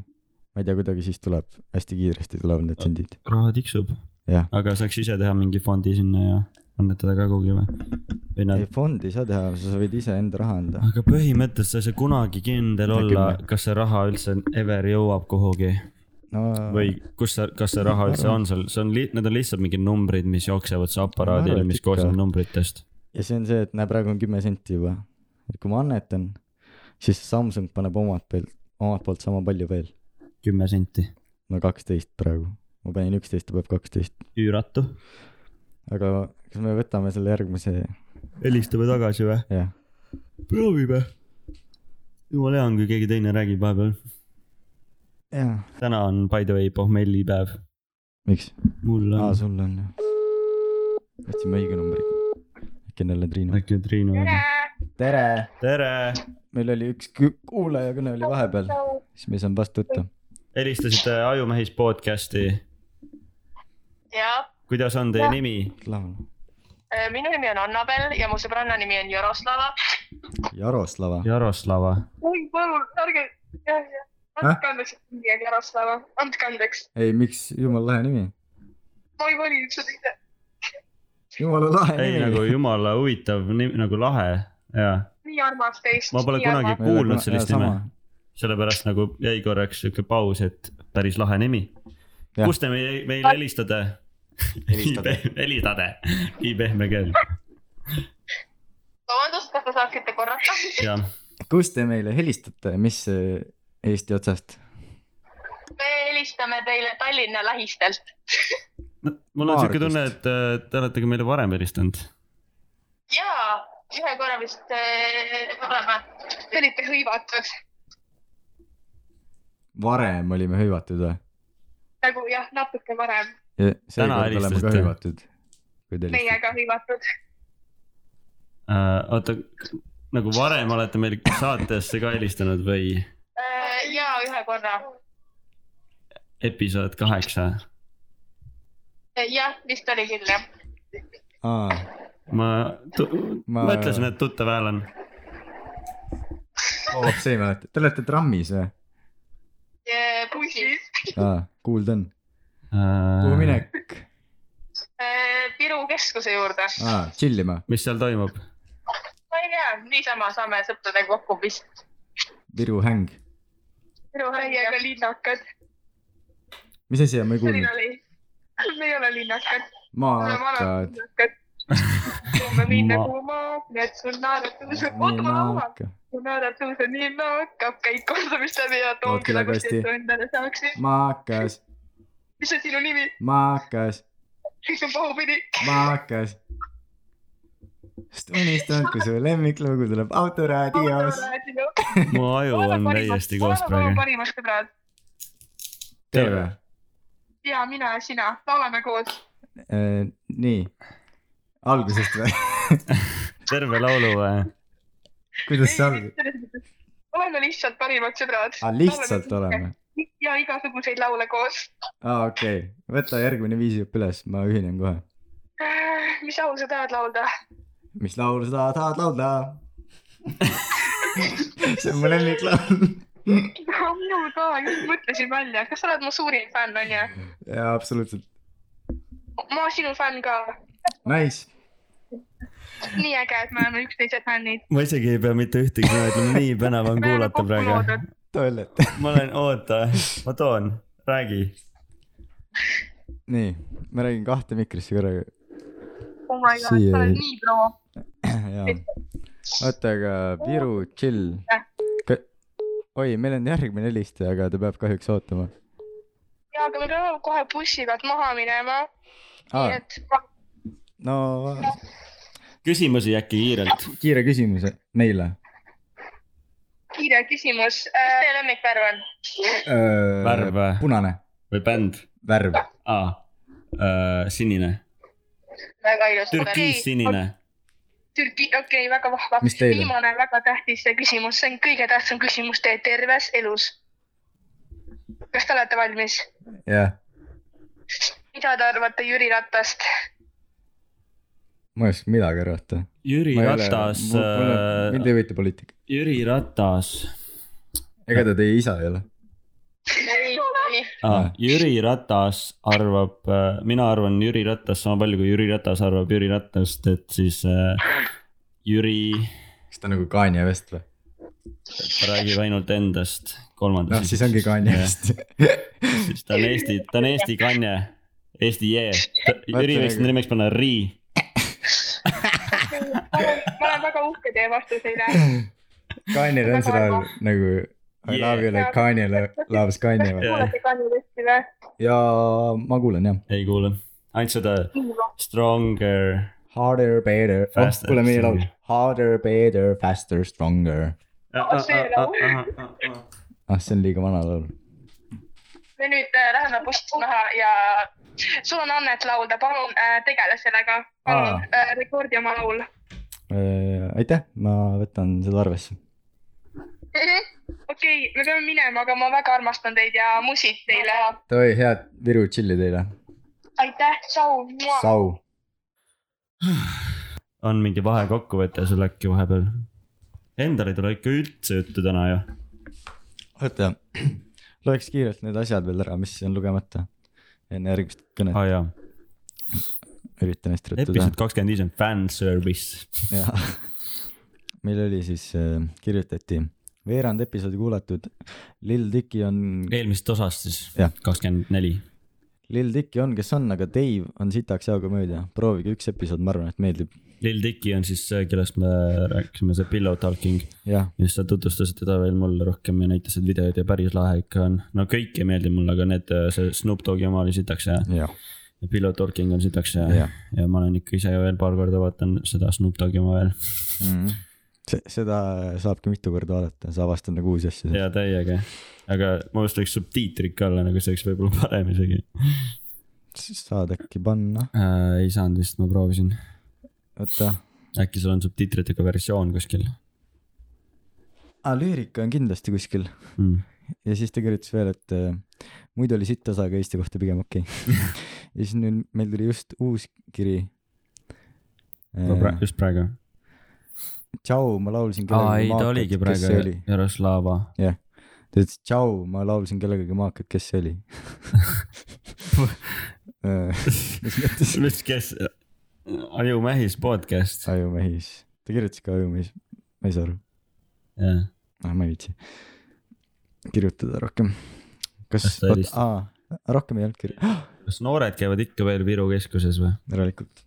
ma ei tea , kuidagi siis tuleb , hästi kiiresti tulevad need sendid ,
raha tiksub ,
jah .
aga saaks ise teha mingi fondi sinna ja annetada ka kuhugi või ? või
ei
nad ,
fondi ei saa teha , sa võid iseenda raha anda .
aga põhimõtteliselt sa ei saa kunagi kindel
No
olla
küll. ,
kas see raha üldse ever jõuab kuhugi
no
või kus see , kas see raha üldse on seal , see on , need on lihtsalt mingid numbrid , mis jooksevad su aparaadil ,
arvan, et
mis
ikka.
koosneb numbritest .
ja see on see , et näe , praegu on kümme senti juba . et kui ma annetan , siis Samsung paneb omalt pealt , omalt poolt sama palju veel .
kümme senti .
no kaksteist praegu , ma panin üksteist , ta peab kaksteist ,
üürattu .
aga kas me võtame selle järgmise ,
helistame tagasi või ?
jah ,
proovime . jumala hea on , kui keegi teine räägib vahepeal .
jah ,
täna on by the way pohmellipäev .
miks ?
mul
aa ,
on ,
sul on jah . võtsime õige numbri . äkki on jälle Triinu .
äkki on Triinu .
tere ,
tere ,
meil oli üks kü- kuulajakõne oli vahepeal , siis me ei saanud vastu võtta .
helistasite Ajumehis podcast'i .
jaa ,
kuidas on teie nimi ?
laul .
minu nimi on Annabel ja mu sõbranna nimi on Jaroslava .
Jaroslava .
Jaroslava .
oi , palun , ärge , jah , jah , andke andeks , et nimi on Jaroslava , andke andeks .
ei , miks , jumala lahe nimi .
ma ei valinud seda ise .
jumala lahe
ei , nagu
nimi .
jumala huvitav nimi , nagu lahe ja
nii armas teist .
Ma pole kunagi kuulnud sellist nime. sellepärast nagu jäi korraks sihuke paus , et päris lahe nimi .
Jah.
kust te meile , meile helistate ?
Helistate.
helistate , nii pehme keel ,
vabandust , kas te saaksite korrata ?
jah .
kust te meile helistate , mis äh, Eesti otsast ?
me helistame teile Tallinna lähistelt .
mul on sihuke
Maardust.
tunne , et äh, te olete ka meile varem helistanud .
jaa , ühe korra vist äh, oleme . Te olite hõivatud
varem olime hõivatud või ?
nagu jah , natuke varem
Täna
seekord oleme ka
helistasite.
hõivatud . kui te helistate .
meiega hõivatud .
Äh, oota , nagu varem olete meil saatesse ka helistanud või
ja Eh, ühe korra ,
episood kaheksa ?
Eh, jah , vist oli küll jah .
aa ,
ma , ma
Ma-
mõtlesin , et tuttav hääl on .
hoop see ei mäleta , te olete trammis või ?
Eh, bussis .
aa , kuulda on .
Äh,
kuhu ? minek ?
Eh, Viru keskuse juurde .
aa , tšillima .
mis seal toimub ?
ma ei tea , niisama saame sõpradega kokku vist .
Viru häng .
Viru haiega linnakad .
mis asi on , ma ei kuulnud .
selline oli . me ei ole linnakad , me oleme alati
maakad .
linnakad . me minna
Ma-
kuhu maagnet , sul naeratus , oota ma laulan .
maaka ,
mu naeratus on nii naakav , käid kordamist läbi ja toongi nagu
Noortelakasti.
siit endale saaksid .
maakas ,
mis on sinu nimi ?
maakas ,
kõik on pahupidi .
maakas . sest unistan , kui su lemmiklugu tuleb autoraadios .
mu aju on täiesti koos
oleme
praegu .
parimad sõbrad
tee või ?
ja mina ja sina laulame koos .
Äh, nii , algusest või ?
terve laulu või ?
kuidas see algab ?
oleme lihtsalt parimad sõbrad .
aa , lihtsalt . oleme .
ja igasuguseid laule koos .
aa , okei okay. , võta järgmine viis juba üles , ma ühinen kohe .
Ah, mis laulu sa tahad laulda ?
mis laulu sa tahad laulda ? see on mu lemmiklaul .
minul ka , just mõtlesin välja , kas sa oled mu suurim fänn , onju ?
jaa , absoluutselt .
ma olen sinu fänn ka .
Nice ,
nii äge , et me oleme üksteise fännid .
ma isegi ei pea mitte ühtegi sõna ütlema , nii põnev on
Me oleme
kuulata
kokku
praegu
loodud. .
toilet .
ma olen , oota , ma toon , räägi .
nii , ma räägin kahte mikrisse korraga .
oh my god ,
Siia
sa oled
ei-
nii pro .
jaa . oota , aga Viru , chill . oi , meil on järgmine helistaja , aga ta peab kahjuks ootama .
ja , aga me peame kohe bussi pealt maha minema .
aa
nii , et ma...
Ah, no
küsimusi äkki kiirelt .
kiire küsimus meile .
kiire küsimus . mis teie lemmikvärv on ?
Värv
värv
või?
Äh, punane ,
või bänd ?
värv .
aa , sinine ,
väga ilus .
türkiissinine .
Türgi , okei okay, , väga vahva
Mis teil on?
viimane väga tähtis küsimus , see on kõige tähtsam küsimus teie terves elus . kas te olete valmis ?
jah ,
mida te arvate Jüri Ratast ?
ma ei oska midagi arvata .
Jüri Ratas , äh,
mind ei huvita poliitika .
Jüri Ratas
ega ta teie isa ei ole ?
ei ole .
ah,
Ah. .
Jüri Ratas arvab , mina arvan Jüri Ratast sama palju kui Jüri Ratas arvab Jüri Ratast , et siis äh, Jüri
kas ta on nagu Kanye West või ?
räägib ainult endast kolmandas .
noh , siis ongi Kanye . West .
siis ta on Eesti , ta on Eesti Kanye , Eesti Jee . Jüri
Vaata,
võiks
nagu-
enda nimeks panna Ri .
ma olen väga uhke teie vastuse üle .
Kanye'l on seda nagu I love you like Kanye lo- loves Kanye või ?
Jaa.
kuulate kanilesti või ?
ja ma kuulen jah .
ei kuule , ainult seda Stronger .
Harder , better , oh
Faster,
kuule meie laul
stronger. .
Harder , better , faster , stronger .
ah,
see laul.
ah , see on liiga vana laul .
me nüüd äh, läheme bussi maha ja sul on annet laulda , palun äh, tegele sellega .
Aa.
palun äh, rekordi oma laul .
Äh, aitäh , ma võtan seda arvesse .
okei , me peame minema , aga ma väga armastan teid ja musid teile .
Davai , head Viru tšilli teile .
aitäh , tšau .
Sau .
on mingi vahekokkuvõte sul äkki vahepeal ? Endal ei tule ikka üldse juttu täna ju .
oota , loeks kiirelt need asjad veel ära , mis on lugemata . enne järgmist kõnet
aa jaa ,
üritan neist ruttuda
Ah, episood . kakskümmend viis on fanservice .
jah , meil oli siis , kirjutati veerand episoodi kuulatud . Lil Dicky on ,
eelmisest osast siis
Jah. ,
kakskümmend neli .
Lil Dicky on , kes on , aga Dave on sitaks hea komöödia , proovige üks episood , ma arvan , et meeldib .
Lil Dicky on siis see , kellest me rääkisime , see Pillow Talking .
jah ,
ja siis sa tutvustasid teda veel mulle rohkem ja näitasid videoid ja päris lahe ikka on . no kõik ei meeldi mulle , aga need , see Snoop Dogi oma oli sitaks hea
jah ,
ja Pillow Talking on sitaks hea ja.
jah .
ja ma olen ikka ise veel paar korda vaatan seda Snoop Dogi oma veel
Mhm. seda saabki mitu korda vaadata , sa avastad nagu uusi asju .
ja täiega . aga ma vist võiks subtiitrid ka olla , nagu see oleks võib-olla parem isegi
saad äkki panna ,
äh, . ei saanud vist , ma proovisin .
oota .
äkki sul on subtiitritega versioon kuskil
aa , lüürika on kindlasti kuskil
mm. ?
ja siis ta kirjutas veel , et äh, muidu oli sitt osa , aga Eesti kohta pigem okei okay. . ja siis nüüd meil tuli just uus kiri .
ma pra- , just praegu .
tšau , ma laulsin
Äh. aa ei ,
kellegagi
ta oligi
maakat , kes see oli
praegu ? Jaroslava .
jah , ta ütles tšau , ma laulsin kellegagi maakat , kes see oli ? mis mõttes
mis , kes ? Ajumähis podcast .
ajumehis , ta kirjutas ka ajumehis , ma ei saa aru ,
jah ,
ah ma ei viitsi kirjutada rohkem . kas
Kas ta , helistas?
aa , rohkem ei olnud kirja ,
kas noored käivad ikka veel Viru keskuses või ?
järelikult .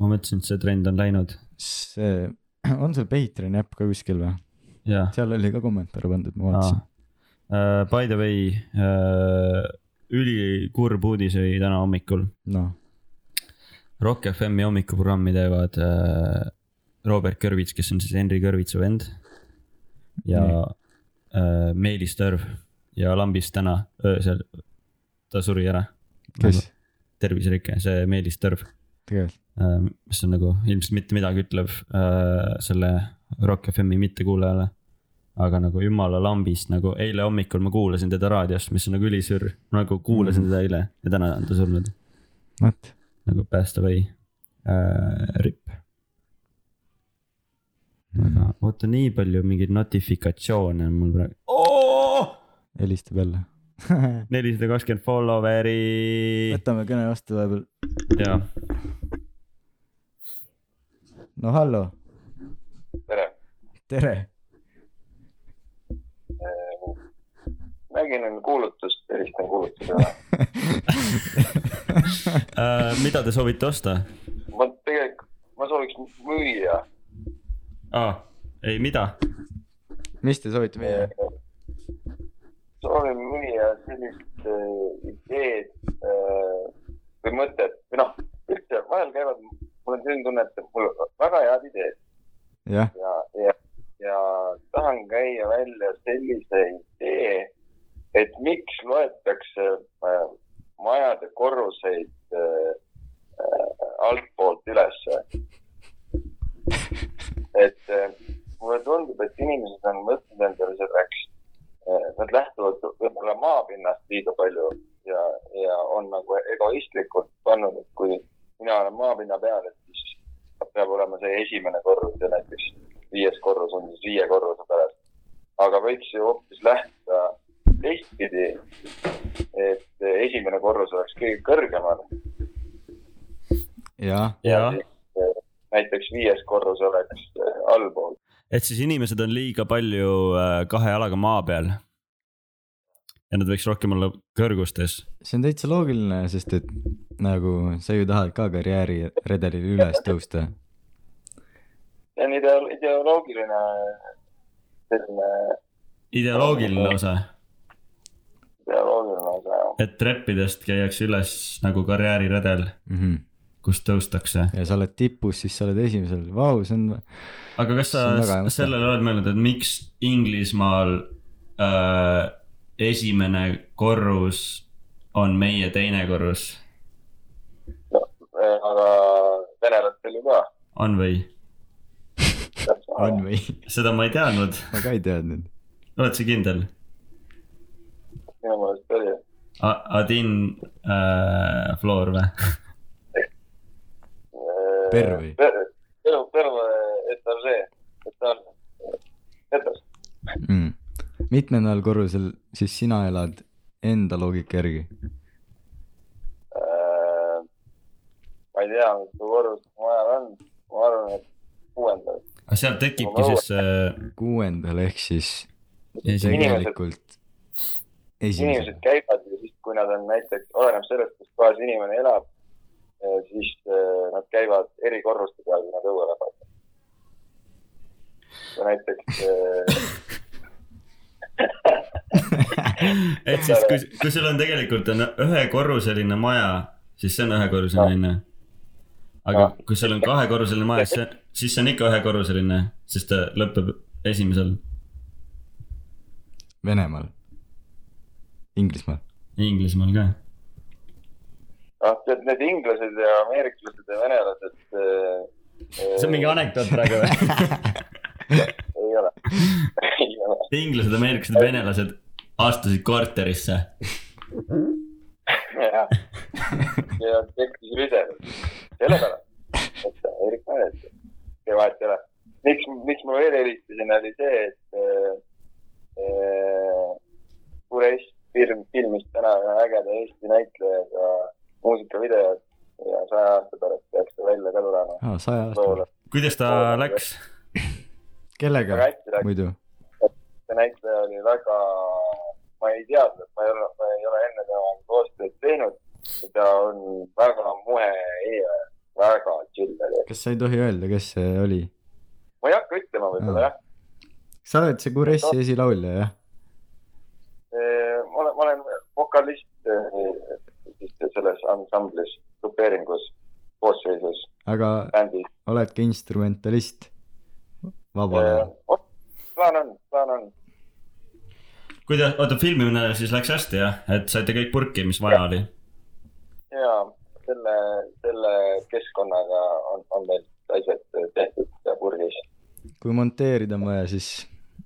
ma mõtlesin , et see trend on läinud .
see , on sul Patreon'i äpp ka kuskil või ?
jaa .
seal oli ka kommentaar pandud , ma vaatasin .
Uh, by the way uh, , ülikurb uudis oli täna hommikul .
noh ,
Rock FM-i hommikuprogrammi teevad äh, Robert Kõrvits , kes on siis Henri Kõrvitsa vend ja
Nii.
äh, Meelis Tõrv ja lambis täna öösel . ta suri ära .
kes ?
terviserike , see Meelis Tõrv
tegelikult ,
äh, , mis on nagu ilmselt mitte midagi ütlev äh, selle Rock FM-i mittekuulajale . aga nagu jumala lambist nagu eile hommikul ma kuulasin teda raadiost , mis on nagu ülisürr , nagu kuulasin mm -hmm.
Mhm.
teda eile ja täna on ta surnud
vot ,
nagu Passed Away äh, ripp . aga oota , nii palju mingeid notifikatsioone on mul praegu oh! .
helistab jälle .
nelisada kakskümmend follower'i .
võtame kõne vastu vahepeal .
jaa ,
no hallo ,
tere ,
tere .
nägin kuulutust , helistan kuulutuse ära .
äh, mida te soovite osta
ma tegelikult , ma sooviks müüa
ah, ? ei , mida ?
mis te soovite meie ?
soovin müüa sellist äh, ideed äh, või mõtet või noh , üldse vahel käivad , mul on selline tunne , et mul on väga head ideed
jah ,
ja , ja , ja tahan käia välja sellise idee , et miks loetakse äh, majade korruseid äh, äh, altpoolt ülesse . et äh, mulle tundub , et inimesed on võtnud endale selleks äh, , nad lähtuvad võib-olla maapinnast liiga palju ja , ja on nagu egoistlikult pannud , et kui mina olen maapinna peal , et siis peab olema see esimene korrus ja näiteks viies korrus on siis viie korruse pärast . aga võiks ju hoopis lähtuda teistpidi , et esimene korrus oleks kõige kõrgemal
jah ,
jaa .
näiteks viies korrus oleks äh, allpool .
et siis inimesed on liiga palju äh, kahe jalaga maa peal . ja nad võiks rohkem olla kõrgustes .
see on täitsa loogiline , sest et nagu sa ju tahad ka karjääriredelil üles tõusta .
see on ideo- , ideoloogiline selline
Oh.
ideoloogiline osa ,
ideoloogiline osa jah .
et treppidest käiakse üles nagu karjääriredel ,
-hmm.
kus tõustakse .
ja sa oled tipus , siis sa oled esimesel , vau , see on ,
aga kas
See on väga
sa
hea mõte.
sellele oled mõelnud , et miks Inglismaal äh, esimene korrus on meie teine korrus ,
eh, aga venelastel ju ka .
on või ?
on või ?
seda ma ei teadnud ,
ma ka ei teadnud .
oled sa kindel ?
minu meelest oli ,
Adin äh, Floor või ?
eh,
Per või?
Perv , Perv , etanžee , etanž , etanž ,
mm. . mitmendal korrusel siis sina elad enda loogika järgi ?
Äh, ma ei tea , mitu korrust majal on , ma arvan , et kuuendal .
aga seal tekibki siis äh,
kuuendal ehk siis
esimene ,
tegelikult
inimesed
esimesel .
käivad ja siis , kui nad on näiteks , oleneb sellest , kus kohas inimene elab , siis eh, nad käivad eri korruste peal , kui nad õuele panevad . kui näiteks eh,
et siis kui , kui sul on tegelikult on ühekorruseline maja , siis see on ühekorruseline onju . aga
Jah.
kui sul on kahekorruseline maja , siis see , siis see on ikka ühekorruseline , sest ta lõpeb esimesel
Venemaal . Inglismaal .
Inglismaal ka .
noh , tead need inglased ja ameeriklased ja venelased . äh,
see on mingi anekdoot praegu või ?
ei ole , ei ole .
inglased , ameeriklased , venelased astusid korterisse .
jah , ja tekkis rüde sellepärast , et Erik Mäes , see vahet ei ole . miks , miks ma veel helistasin , oli see , et äh, äh, Kures film , filmis täna ühe ägeda Eesti näitlejaga muusikavideot ja saja aasta pärast peaks ta välja ka tulema
aa , saja aasta
loole ..
kuidas ta läks ?
kellega
väga hästi läks ,
muidu ?
see näitleja oli väga , ma ei teadnud , ma ei ole , ma ei ole enne temaga koostööd teinud . ta on väga muhe inimene , väga chill oli .
kas sa ei tohi öelda , kes see oli ?
ma ei hakka ütlema võib-olla jah .
sa oled see Kuressi esilaulja , jah ?
ma olen , ma olen vokalist eh, siis selles ansamblis , grupeeringus , koosseisus ,
aga
bändis .
oled ka instrumentalist ? vabal ajal .
oh, plaan on , plaan on .
kuidas , oota filmimine siis läks hästi jah , et saite kõik purki , mis vaja oli ?
ja selle , selle keskkonnaga on , on need asjad tehtud ja purgis .
kui monteerida on vaja , siis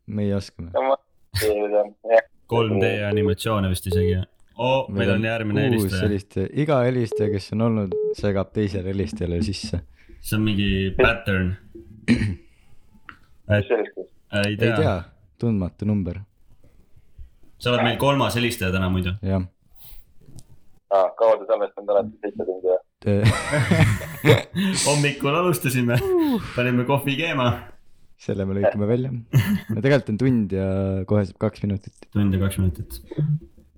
meie oskame .
jah ,
3D animatsioone vist isegi . oo , meil on järgmine helistaja ,
helistaja . iga helistaja , kes on olnud , segab teisele helistajale sisse .
see on mingi pattern .
mis sellest siis ?
ei
ei tea
tea ,
tundmatu number ,
sa oled meil kolmas helistaja täna muidu .
jah .
aa , Ah, kaua te salvestanud olete , seitse tundi või ?
hommikul alustasime , panime kohvi keema ,
selle me lõikame välja . no tegelikult on tund ja kohe saab kaks minutit .
tund ja kaks minutit .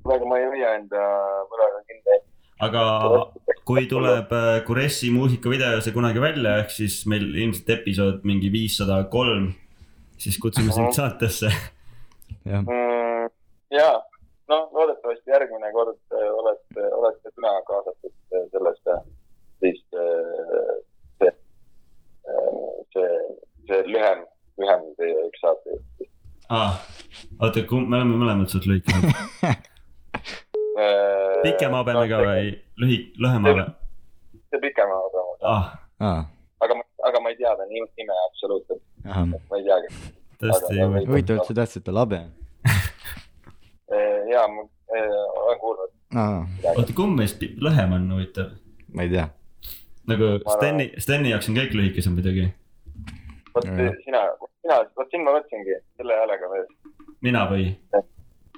praegu ma ei hoia enda võlaga kinni .
aga kui tuleb äh, Kuressi muusikavideo see kunagi välja , ehk siis meil ilmselt episood mingi viissada kolm , siis kutsume sind saatesse .
jah ,
ja , noh , Mm, loodetavasti järgmine kord äh, olete , olete sina kaasatud äh, sellesse , siis äh, see , see , see lühem , lühem teie üks saate .
aa , oota , me oleme mõlemad suht lühikesed . pikema habemega ? või lühi- , lühema habe ?
Äh, see pikema habemega ,
ah ,
aa ,
aga , aga ma ei tea ta ni- nime absoluutselt ,
ahah .
ma ei teagi .
tõesti ei huvita .
huvitav , et sa teadsid , et ta labe on .
ja ma äh, olen kuulnud ,
aa ,
oota , kumb meist pi- lühem on huvitav ?
ma ei tea .
nagu Steni , Steni jaoks on kõik lühikesem muidugi .
vot
Jajah.
sina , sina , vot siin ma mõtlesingi selle häälega veel .
mina või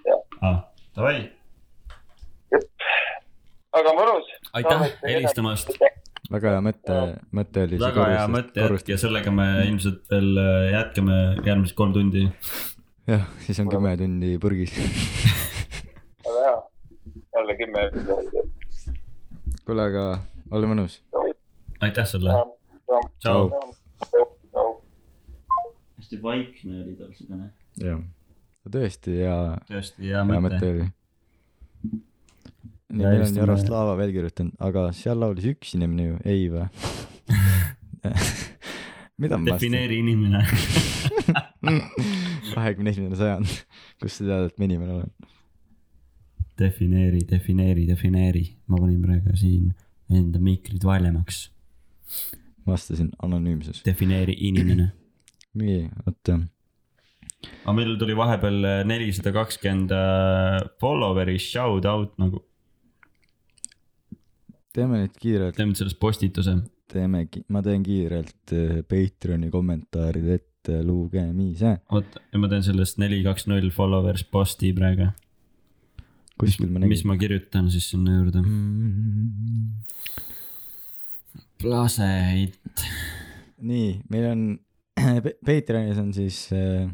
Jah. ?
aa , davai .
aga mõnus .
aitäh helistamast .
väga hea mõte , mõte oli .
väga hea mõte jätk ja . sellega me
Mm.
ilmselt veel äh, jätkame järgmised kolm tundi .
jah , siis on kümme tundi purgis .
väga hea , jälle kümme episoodi .
kuule , aga ole mõnus .
aitäh sulle . Tšau.
tšau .
hästi vaikne oli tal seda .
jah . tõesti hea ,
tõesti hea
hea
mõte .
mõte oli .
Ja
ja meil on
just
Jaroslava veel kirjutanud , aga seal laulis üks inimene ju , ei või ? mida ma vastan ?
defineeri inimene .
kahekümne esimene sajand , kus sa tead , et ma inimene olen .
defineeri , defineeri , defineeri . ma panin praegu siin enda mikrid valjemaks .
vastasin anonüümsus .
defineeri inimene .
nii , oota ,
aga meil tuli vahepeal äh, nelisada kakskümmend follower'i shout out nagu ,
teeme nüüd kiirelt ,
teeme sellest postituse .
teeme , ma teen kiirelt eh, Patreoni kommentaarid ette lugemise .
oot , ja ma teen sellest neli , kaks , null followers posti praegu .
kuskil ma
mis
nägin . Mm.
ma kirjutan siis sinna juurde ? Plaseid .
nii , meil on Pe- Patreonis on siis äh,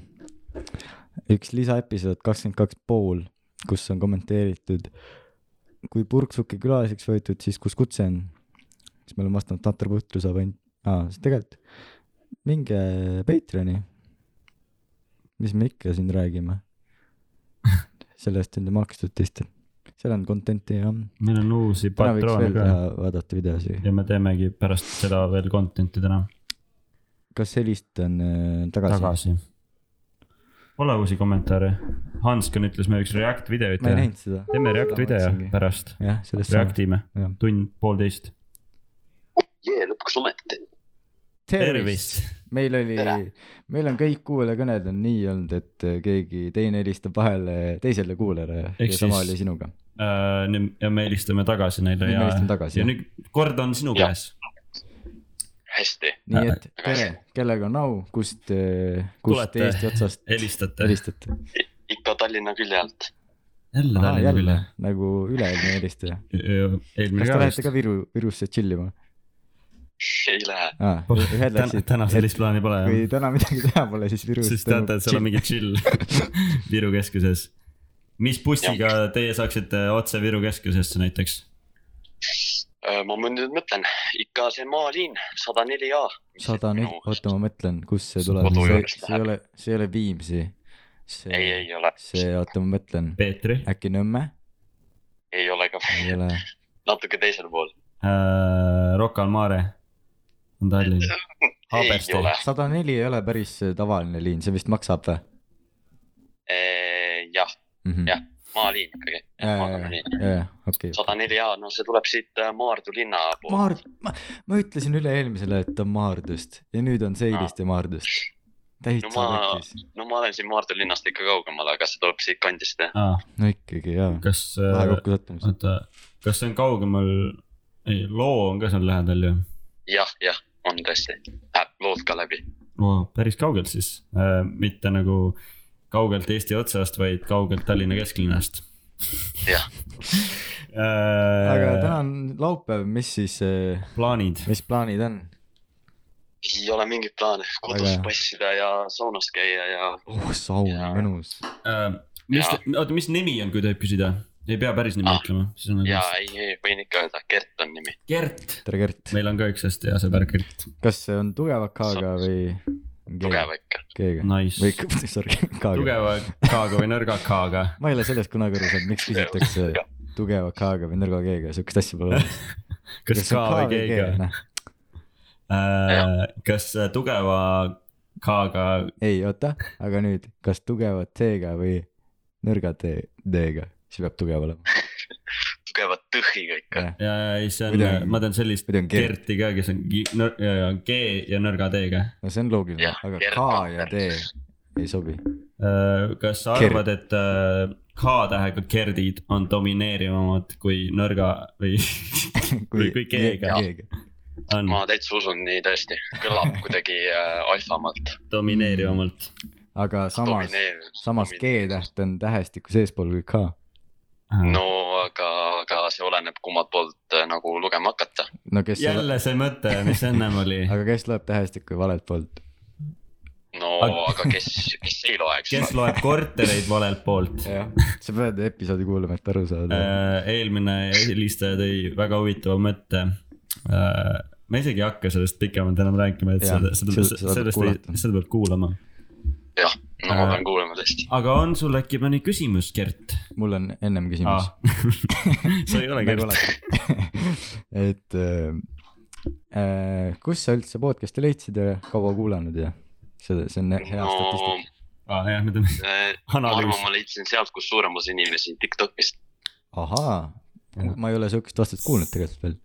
üks lisaepisood kakskümmend kaks pool , kus on kommenteeritud , kui purksuki külaliseks võetud , siis kus kutse on . siis me oleme vastanud Tatar Putruse või , aa , siis tegelikult minge Patreoni . mis me ikka siin räägime ? selle eest on ju makstud teistel , seal on content'i ja
meil on uusi
täna võiks
patroone
veel
ka
teha , vaadata videosi .
ja me teemegi pärast seda veel content'i täna
kas helist on äh, tagasi, tagasi. ?
tagasi . Pole uusi kommentaare . Hansken ütles , me võiks React videoid
ma ei
teha .
näinud seda .
teeme React video
mõtlesingi.
pärast ,
jah , sellest saab .
React ime
Jah. ,
tund , poolteist .
jee , lõpuks ometi .
tervist !
meil oli
Tere. ,
meil on kõik kuulajakõned on nii olnud , et äh, keegi teine helistab vahele teisele kuulajale ja
Ehk
sama
siis-
oli sinuga .
Äh, ja me helistame tagasi neile
Nüüd me
ja
helistame , tagasi,
ja
jah.
nüüd kord on sinu
Jah.
käes .
hästi ,
Äh.
nii et tere , kellega on au , kust , kust
Tulete.
Eesti otsast
helistate .
helistate ?
ikka Tallinna külje alt .
jälle Tallinna
jälle
külla .,
nagu üle-eelmine helistaja .
eelmine
kas te
ka
lähete
vist
ka . Viru , Virusse chill ima ?
ei lähe ,
ühed läksid .
Oh, täna sellist plaani pole
kui
jah .
täna midagi teha pole , siis Virus .
siis teate , et seal on mingi chill Viru keskuses . mis bussiga teie saaksite otse Viru keskusesse näiteks ?
ma mõ- nüüd mõtlen , ikka see maaliin sada neli A .
sada nüüd , oota , ma mõtlen , kust see tuleb ,
kodu
see ,
juurest
see ei ole , see ei ole Viimsi . see
ei , ei ole ,
see , oota , ma mõtlen ,
Peetri
äkki Nõmme ?
ei ole ka ,
ei ole ,
natuke teisel pool .
äh, , Rocca al Mare on Tallinn , Ah, Haabersti
ei ole ,
sada neli ei ole päris see tavaline liin , see vist maksab või
jah ,
mm
Jah, maaliin ikkagi , maakonnaliin .
-hmm. ? jaa , okei .
sada neli A , no see tuleb siit äh, Maardu linna poolt .
Maard- , ma , ma ütlesin üle-eelmisele , et on Maardust ja nüüd on see Iliste Maardust . täitsa
No ma-
võttis no, ,
no ma olen siin Maardu linnast ikka kaugemal , aga see tuleb siit kandist jah .
ah, .
no ikkagi jaa ,
kas
lahe
äh, ,
kokkusattumus .
oota , kas see on kaugemal , ei , loo on ka seal lähedal ju
jah , jah , on tõesti , läheb lood ka läbi .
wow, , päris kaugelt siis äh, , mitte nagu kaugelt Eesti otsast , vaid kaugelt Tallinna kesklinnast .
Jah.
aga täna
äh,
on laupäev , mis siis ,
plaanid ,
mis plaanid on ?
ei ole mingeid plaane ,
Väga
kodus
hea.
passida ja saunas käia ja
oh , sauna ,
Jaa.
mõnus .
äh, mis , oota , mis nimi on , kui tohib küsida ? ei pea päris nimi
Ah,
ütlema , siis on
ja
nagu
ei , ei võin ikka öelda , Gert on nimi .
Gert .
tere , Gert .
meil on ka üks hästi hea sõber Gert ,
kas see on tugeva K-ga või ?
tugev . ikka .
G-ga või
nice ,
sorry , K-ga .
tugeva K-ga või nõrga K-ga
ma ei ole sellest kunagi aru saanud , miks küsitakse tugeva K-ga või nõrga G-ga , siukest asja pole olemas .
kas K või
noh.
G-ga ??
Jah.
kas äh, tugeva K-ga ,
ei , oota , aga nüüd , kas tugeva T-ga või nõrga T- D-ga , siis peab tugev olema .
tugeva tõhiga ikka .
ei see
Muidugi.
on , ma tean sellist
muidu on Gert ,
Gerti ka , kes on gi- nõr- ja- G ja nõrga D-ga .
no see on loogiline
Jah, ,
aga
Gert
K ja
Koppen.
D ei sobi .
Äh, kas sa
Gert.
arvad , et äh, K-tähega Gerdid on domineerivamad kui nõrga või Või kui G-ga. on
ma täitsa usun nii tõesti , kõlab kuidagi äh, alfamalt .
domineerivamalt ?
aga samas ,
E?
samas G-täht on tähestiku seespool kui K .
no aga , aga see oleneb kummalt poolt äh, nagu lugema hakata .
no kes , aga
jälle see mõte , mis ennem oli ,
kes loeb tähestikku valelt poolt ?
no
Aga-
aga kes , kes ei loe , eks
kes . loeb kortereid valelt poolt ?
jah , sa pead episoodi kuulama , et aru saada .
Äh. eelmine helistaja tõi väga huvitava mõtte . ma isegi ei hakka sellest pikemalt enam rääkima , et
Jah,
seda , seda ,
seda- seda
sellest ei ,
peab kuulata.
seda peab kuulama .
jah , no
Äh,
ma pean kuulama tõesti .
aga on sul äkki mõni küsimus , Gert ?
mul on ennem küsimus
Ah. . sa ei ole Gert .
Nagu alati. et äh, kus sa üldse podcast'i leidsid ja kaua kuulanud ja seda , see on hea
no
statistika .
aa , Ah, jah , me teeme
eh, ma arvan ,
analüüsi
ma . leidsin sealt , kus suurem osa inimesi Tiktokist .
ahaa , ma ei ole sihukest vastust kuulnud tegelikult veel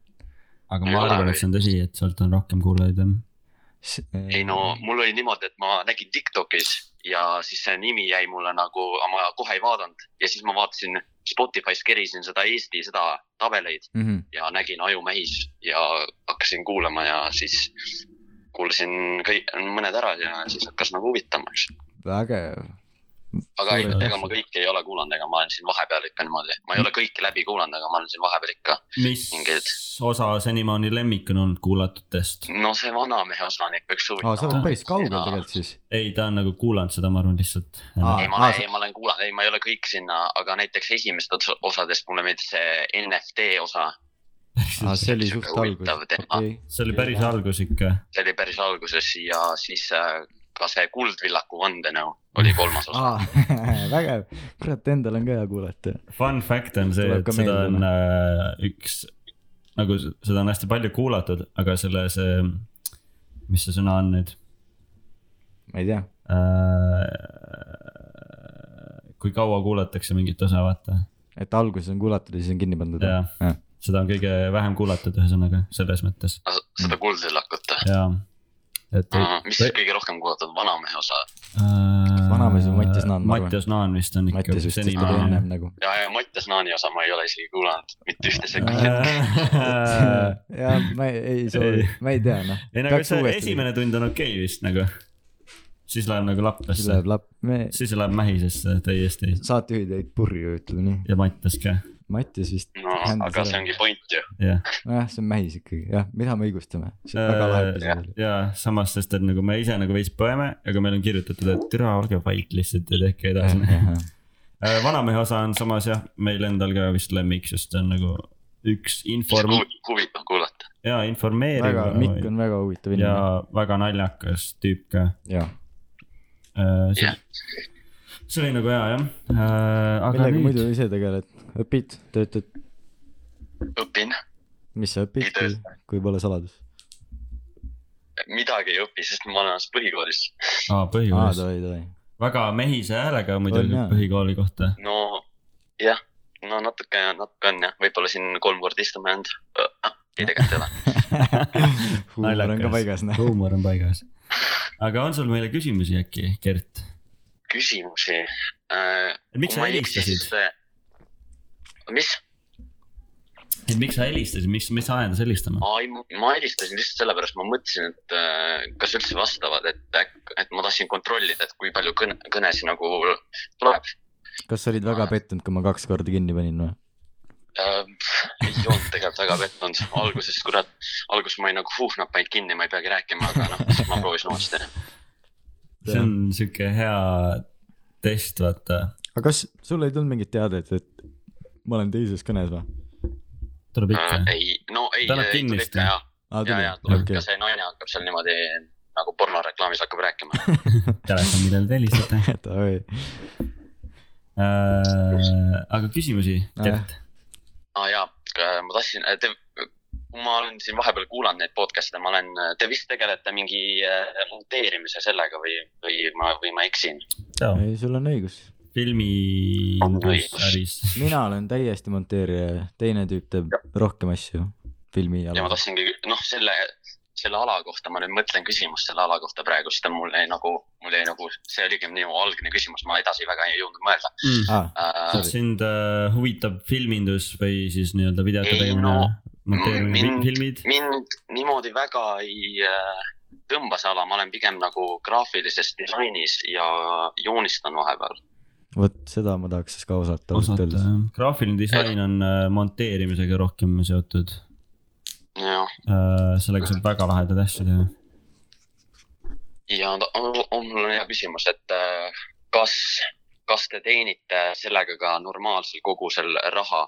aga
ei
ma
ole
arvan ,
veel.
et see on tõsi , et sealt on rohkem kuulajaid , jah .
S . äh,
ei no
Mm.
mul oli niimoodi , et ma nägin Tiktokis ja siis see nimi jäi mulle nagu , ma kohe ei vaadanud ja siis ma vaatasin Spotify's kerisin seda Eesti , seda tabeleid
mm . -hmm.
ja nägin Ajumähis ja hakkasin kuulama ja siis kuulasin kõik , mõned ära ja siis hakkas nagu huvitama , eks .
vägev ,
aga ei
Suure ,
ega ma kõiki ei ole kuulanud , ega ma olen siin vahepeal ikka niimoodi , ma ei ole kõiki läbi kuulanud , aga ma olen siin vahepeal ikka .
mis
Mingeid.
osa senimaani lemmik on olnud kuulatutest ?
no see vanamehe osa on ikka üks
aa , sa
huvitav .
oled päris kaugel
Jaa.
tegelikult siis .
ei , ta on nagu kuulanud seda , ma arvan lihtsalt .
Aa,
ei , ma
aa,
olen ,
sa-
ei , ma olen kuulanud , ei , ma ei ole kõik sinna , aga näiteks esimest ots- osadest mulle meeldis see NFT osa ,
aa , see oli
Sihuke
suht algus ,
huvitav
okei
teema.
okay. .
see oli päris algus ikka .
see oli päris alguses ja siis äh, ka see Kuldvillaku vandenõu oli kolmas osa .
aa , vägev , kurat , endal on ka hea kuulata .
Fun fact on see ,
Tuleb
et
ka
seda
meelde,
on äh, üks , nagu s- seda on hästi palju kuulatud , aga selle , see , mis see sõna on nüüd
ma ei tea ,
äh, ? kui kaua kuulatakse mingit osa , vaata .
et alguses on kuulatud ja siis on kinni pandud .
Jah. seda on kõige vähem kuulatud , ühesõnaga selles mõttes
seda Kuldvillakut .
ja , et
Mhm, mis siis kõige rohkem kuulatud , vanamehe osa
vanamees on Mattias Naan, ma arvan.
Mattias Naan vist on ikka
Mattias vist tegi
senimaani
ennem . nagu .
ja , ja Mattias Naani osa ma ei ole isegi kuulanud , mitte ühte sekundit .
ei ,
ja ma ei , ei soovi
Äh, Ei. ,
ma ei tea noh .
nagu see esimene tund on okei vist nagu . siis läheb nagu
siis
lappesse ,
läheb lap- , me ,
siis läheb mähisesse täiesti
saatejuhid jäid purju , ütleme nii .
ja Mattias ka ,
Mattias vist .
no aga see . ongi point ju .
jah .
jah , see on mähis ikkagi , jah , mida me õigustame , see on väga
Äh,
lahe episood oli .
ja samas , sest et nagu me ise nagu veits põeme , aga meil on kirjutatud , et türa , olge vait lihtsalt ja tehke edasi . vanamehe osa on samas jah , meil endal ka vist lemmik , sest see on nagu üks inform- ,
huvitav kuulata .
jaa ,
väga , Mikk
informeeriv nagu
on väga huvitav
ja
inimene .
väga naljakas tüüp ka .
jah ,
see
Jah.
see oli nagu hea jah , aga
millega
nüüd
muidu ise tegeled , õpid , töötad ,
õpin ,
mis sa
Ei
õpid , kui,
tööta.
kui pole saladus ?
midagi ei õpi , sest ma olen alles põhikoolis .
aa,
aa ,
põhikoolis ,
davai , davai .
väga mehise häälega
On,
muidugi
jah.
põhikooli kohta .
no jah , no natuke , natuke on jah , võib-olla siin kolm korda istuma jäänud . ei tegelikult ei ole .
huumor on ka paigas , noh .
huumor on paigas . aga on sul meile küsimusi äkki , Gert ?
küsimusi äh, .
miks sa helistasid ??
mis ?
et miks sa helistasid , miks , mis ajendas helistama ?
ei , ma helistasin lihtsalt sellepärast , ma mõtlesin , et äh, kas üldse vastavad , et äk- , et ma tahtsin kontrollida , et kui palju kõne , kõnesi nagu tuleb
kas sa olid väga pettunud , kui ma kaks korda kinni panin või ?
äh, . ei olnud tegelikult väga pettunud , alguses kurat , alguses ma olin nagu huh , nad panid kinni , ma ei peagi rääkima , aga noh , siis ma proovisin uuesti .
see on sihuke hea test , vaata .
aga kas sul ei tulnud mingit teadet , et ma olen teises kõnes või ?
tuleb ikka .
Ah, Äh, ei , no ei ,
Ta läheb
ei
kinni
tule
vist,
ikka
jah?
aa ,
jah ja ,
Ah, tuli
ja , tuleb
okei
ka . see naine hakkab seal niimoodi nagu pornoreklaamis hakkab rääkima .
telefon , millele te helistate .
davai ,
Äh, aga küsimusi ,
Ah.
Gert ?
aa Ah, jaa , ma tahtsin , te , ma olen siin vahepeal kuulanud neid podcast'e , ma olen , te vist tegelete mingi äh, monteerimise sellega või , või ma , või ma eksin ?
ei , sul on õigus .
filmi
On õigus.
äris .
mina olen täiesti monteerija ja teine tüüp teeb rohkem asju filmi
ja ma
jalas .
tahtsingi , noh , selle , selle ala kohta ma nüüd mõtlen küsimust selle ala kohta praegu , sest mul jäi nagu , mul jäi nagu , see oligi minu algne küsimus , ma edasi väga ei jõudnud mõelda
aa ,
äh,
kas . Mm. sind äh, huvitab filmindus või siis nii-öelda videote
Ei,
tegemine
no, ?
monteerimine
mind- ,
filmid ?
mind niimoodi väga ei äh, tõmba see ala , ma olen pigem nagu graafilises disainis ja joonistan vahepeal .
vot seda ma tahaks siis ka osata ausalt
osata
öeldes .
jah , graafiline disain on äh, monteerimisega rohkem seotud .
jah ,
sellega saab väga lahedaid asju teha .
ja ta- on- on mul hea küsimus , et äh, kas , kas te teenite sellega ka normaalsel kogusel raha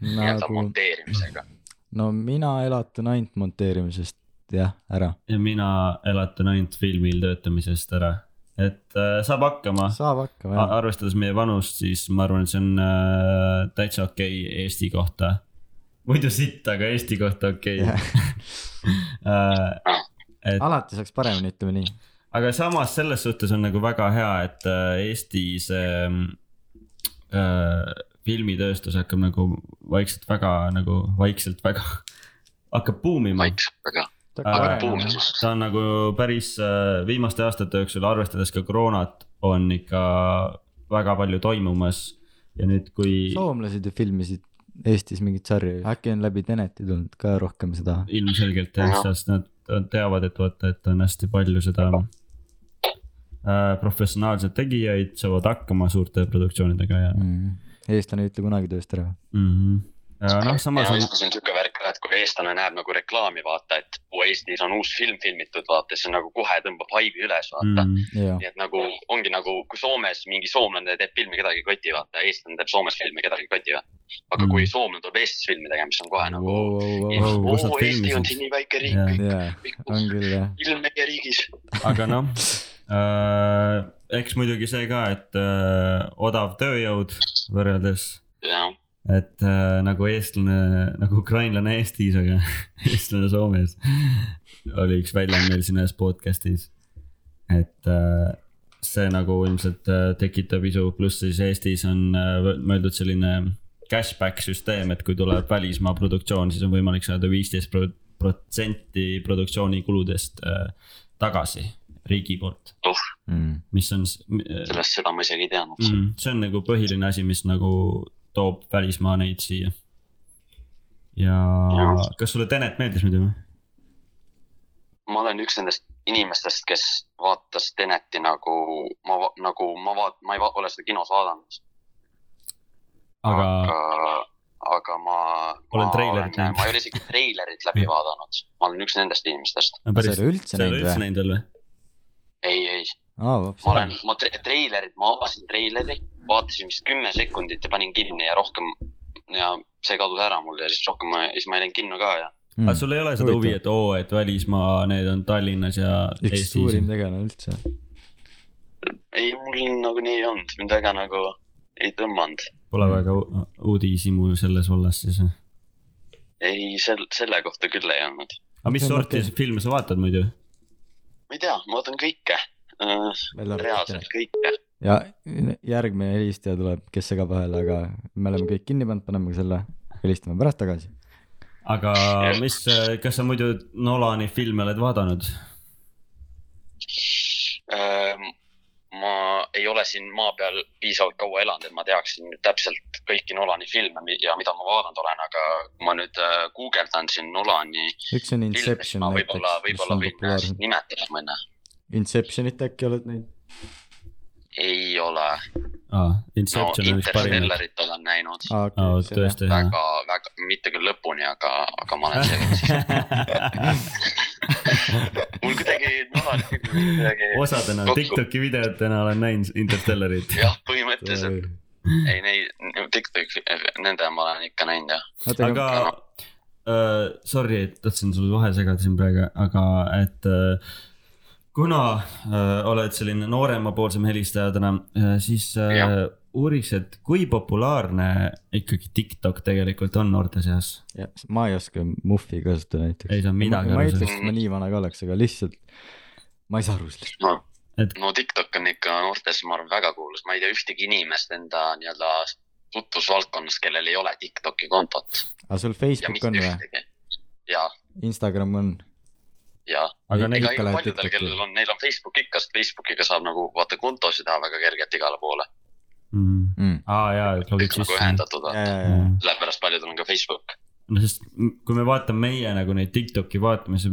nii-öelda
nagu ,
monteerimisega ?
Mm.
no mina elatan ainult monteerimisest jah , ära .
ja mina elatan ainult filmil töötamisest ära , et äh, saab hakkama .
saab hakkama jah .
arvestades meie vanust , siis ma arvan , et see on äh, täitsa okei okay Eesti kohta . muidu sitt , aga Eesti kohta okei Äh,
Jah.
okay. . et
alati saaks paremini , ütleme nii .
aga samas selles suhtes on nagu väga hea , et äh, Eestis ähm, äh, filmitööstus hakkab nagu vaikselt väga nagu vaikselt väga hakkab buumima .
vaikselt , aga
Aga
buum
jah.
siis .
ta on nagu päris äh, viimaste aastate jooksul , arvestades ka koroonat , on ikka väga palju toimumas ja nüüd , kui
soomlased ju filmisid Eestis mingit sarja , äkki on läbi Teneti tulnud ka rohkem seda .
ilmselgelt jah , sest nad teavad , et vaata , et on hästi palju seda äh, professionaalseid tegijaid , saavad hakkama suurte produktsioonidega ja
Mm. eestlane ei ütle kunagi tööst ära .
mm . -hmm. ja noh , samas
ja
on ,
Eestis on siuke värk ka , et kui eestlane näeb nagu reklaami , vaata , et oo, Eestis on uus film filmitud , vaata , siis on nagu kohe tõmbab haibi üles , vaata mm. .
mm,
jaa ,
nii et nagu ongi nagu , kui Soomes mingi soomlane teeb filmi , kedagi ei koti , vaata , eestlane teeb Soomes filmi , kedagi ei koti , vaata . aga
Mm.
kui soomlane tuleb Eestis filmi tegema , siis on kohe nagu
Wow, wow, wow.
"Eest-
kus nad
oo, Eesti on
filmisid?"
siin nii väike
Jaa.
riik ,
jaa ,
kõik ,
on
kõik
küll jah .
ilm meie riigis .
aga noh äh, , eks muidugi see ka , et äh, odav tööjõud võrreldes
jah ,
et äh, nagu eestlane , nagu ukrainlane Eestis , aga eestlane Soomes oli üks väljend meil siin ühes podcast'is . et äh, see nagu ilmselt äh, tekitab isu , pluss siis Eestis on äh, võ- mõeldud selline cashback süsteem , et kui tuleb välismaa produktsioon , siis on võimalik saada viisteist protsenti produktsiooni kuludest äh, tagasi riigi poolt ,
Mm.
mis on s- m- äh,
sellest , seda ma isegi ei teadnud mm. .
mm, . see on nagu põhiline asi , mis nagu toob välismaa neid siia . ja
Jah.
kas sulle Tenet meeldis muidu või ?
ma olen üks nendest inimestest , kes vaatas Teneti nagu ma , nagu ma vaat- , ma ei va- , ole seda kinos vaadanud .
aga
aga , aga ma .
Olen treilerit näinud.
ma ei ole isegi treilerit läbi vaadanud , ma olen üks nendest inimestest .
no,
sa ei
päris ,
ole üldse
sa ei ole
näinud
üldse
või ?
näinud veel või ?
ei , ei ,
aa , hoopis
ma . olen , ma tre- treilerit , ma avasin treileri , vaatasin vist kümme sekundit ja panin kinni ja rohkem ja see kadus ära mul ja siis rohkem ma , siis ma ei läinud kinno ka ja
Mm.
aga sul ei ole seda huvi , et oo , et välismaa , need on Tallinnas ja
üks
Eestis
suurim . tegelane üldse .
ei , mul nagu nii ei olnud , mind väga nagu ei tõmmanud .
Pole
Mm.
väga u- uudishimu selles vallas siis või ?
ei , sel- , selle kohta küll ei olnud .
aga mis
See on
sorti
okei.
filme sa vaatad muidu ?
ma ei tea , ma vaatan kõike , reaalselt kõike .
ja järgmine helistaja tuleb , kes segab vahele , aga me oleme kõik kinni pannud , paneme selle , helistame pärast tagasi .
aga mis , kas sa muidu Nolani filme oled vaadanud ?
Ehm, ma ei ole siin maa peal piisavalt kaua elanud , et ma teaksin nüüd täpselt kõiki Nolani filme mi- ja mida ma vaadanud olen , aga kui ma nüüd äh, guugeldan siin Nolani
üks on
filme , siis
Inception
ma võib-olla ,
näiteks , mis
võib-olla
on
võin äh,
populaarne .
nimetada mõne .
Inceptionit äkki oled näinud ?
ei ole ,
aa ,
no
Inception on üks parimaid .
Interstellarit olen näinud
aa ,
aa ,
okei .
tõesti hea .
siis väga , väga , mitte küll lõpuni , aga , aga ma olen siis see , mul kuidagi Nolani filmid kuidagi
osadena ,
kokku-
Tiktoki videotena olen näinud Interstellarit .
jah , põhimõtteliselt , ei neid , TikTok'i , nende ma olen ikka näinud jah .
oota , aga
aga äh, sorry , et tahtsin sulle vahele segada siin praegu , aga et äh, kuna äh, oled selline nooremapoolsem helistaja täna äh, , siis äh,
Jah.
uuriks , et kui populaarne ikkagi TikTok tegelikult on noorte seas ?
jah , ma ei oska muffi kasutada näiteks .
Ei saa midagi
ma
aru
ei ütleks ,
sellest.
et ma nii vana ka oleks , aga lihtsalt ma ei saa aru sellest .
no TikTok on ikka noortes , ma arvan , väga kuulus , ma ei tea ühtegi inimest enda nii-öelda tutvusvaldkonnas , kellel ei ole TikToki kontot
aga sul
ja
Facebook
mitte
on või ?
ühtegi . ja ,
Instagram on ?
ja .
Aga neil
ega
ikka
ju
läheb
paljudel ,
TikToki.
kellel on , neil on Facebook ikka , sest Facebookiga saab nagu vaata kontosid teha väga kergelt igale poole .
mm. ?
mm. .
aa jaa , klobid
kõik nagu
sisse .
ühendatud
ja ,
on ,
ja , ja ,
no
sellepärast paljudel on ka Facebook .
sest m- kui me vaatame meie nagu neid TikToki vaatamisi ,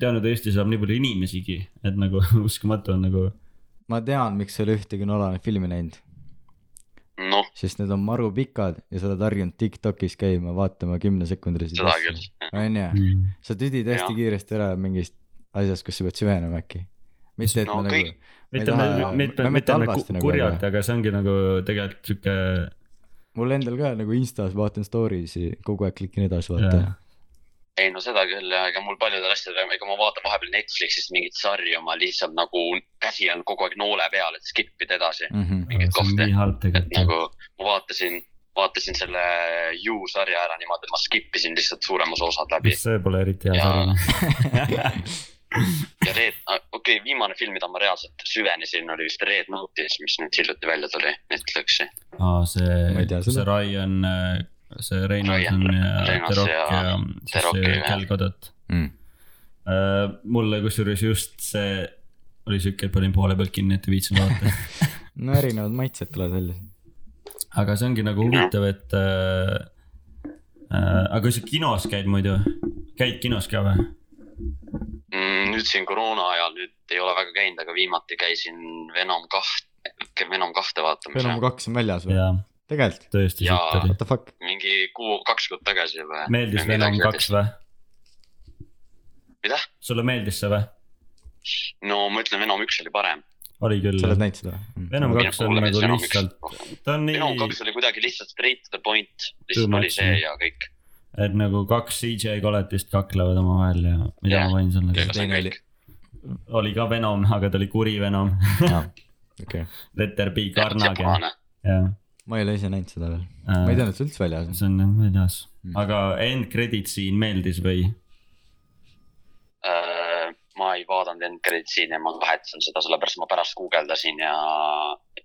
tean , et Eestis elab nii palju inimesigi , et nagu uskumatu on nagu .
ma tean , miks sa ei ole ühtegi Nolani filmi näinud ,
noh ,
sest need on maru pikad ja sa oled harjunud Tiktokis käima vaatama kümnesekundilisi
seda küll .
onju ,
Mm.
sa tüdid hästi
Jah.
kiiresti ära mingist asjast , kus sa pead süvenema äkki . mitte , et
No
ma nagu
kõik- ,
Ma ei
mitte
taha-
me ,
ma-
mitte ,
ma
mitte
mõtlen
nagu
halvasti nagu,
kurjalt ,
aga-
aga see ongi nagu tegelikult sihuke .
mul endal ka nagu Instas vaatan story si kogu aeg klikin edasi vaata
Jaa. .
ei no seda küll ja ega mul paljudel asjadel , ega ma vaatan vahepeal Netflixist mingit sarju , ma lihtsalt nagu käsi on kogu aeg noole peal , et skip ida edasi .
Mm. Mhm.
mingeid
see on
kohti.
nii halb
et
tegelikult .
nagu ma vaatasin , vaatasin selle You sarja ära niimoodi , et ma skip isin lihtsalt suurem osa osad läbi .
see pole eriti hea
Jaa.
sarjane .
ja Red , okei okay, , viimane film , mida ma reaalselt süvenesin , oli vist Red Notice , mis nüüd hiljuti välja tuli Netflixi .
aa ,
Ma
see
ei tea , seda.
see Ryan , see Reinaldson
Ryan
ja
Reynolds
The Rock
ja
ja
The
siis
Rock,
see
jah.
Kel Kodot . mulle kusjuures just see oli siuke , et panin poole pealt kinni , et ei viitsinud vaadata .
no erinevad maitsed tulevad välja .
aga see ongi nagu huvitav , et äh, . Äh, aga kui sa kinos käid muidu , käid kinos ka või ?
mm, . nüüd siin koroona ajal nüüd ei ole väga käinud , aga viimati käisin Venom kaht , Venom kahte vaatamas .
Venom kaks on väljas või ?
jaa ,
tegelikult ?
tõesti
Jaa.
siit oli .
What the fuck ?
mingi kuu , kaks kuud tagasi juba .
meeldis Venom kaks ? või ?
Mida? ?
sulle meeldis see või ?
no ma ütlen , Venom üks oli parem .
oli
sa
küll
oled . näinud seda või ?
Venom kaks on nagu lihtsalt , ta on
Venom
nii
kaks oli kuidagi lihtsalt straight to the point ,
Too
lihtsalt oli
much,
see
jah.
ja kõik .
et nagu kaks CGI koletist kaklevad omavahel ja mida yeah.
Jah.
ma võin sulle
ega
yeah. ,
see on
teine
kõik .
oli ka Venom , aga ta oli kuri Venom ,
okei ,
Letter B Karnage , jah .
ma ei ole ise näinud seda veel . ma ei
Äh, see
teadnud , et see üldse väljas
on
on .
jah väljas
Mm. ,
aga end credit siin meeldis või ?
Äh, ma ei vaadanud endkarit siin ja ma kahetsen seda , sellepärast ma pärast guugeldasin ja ,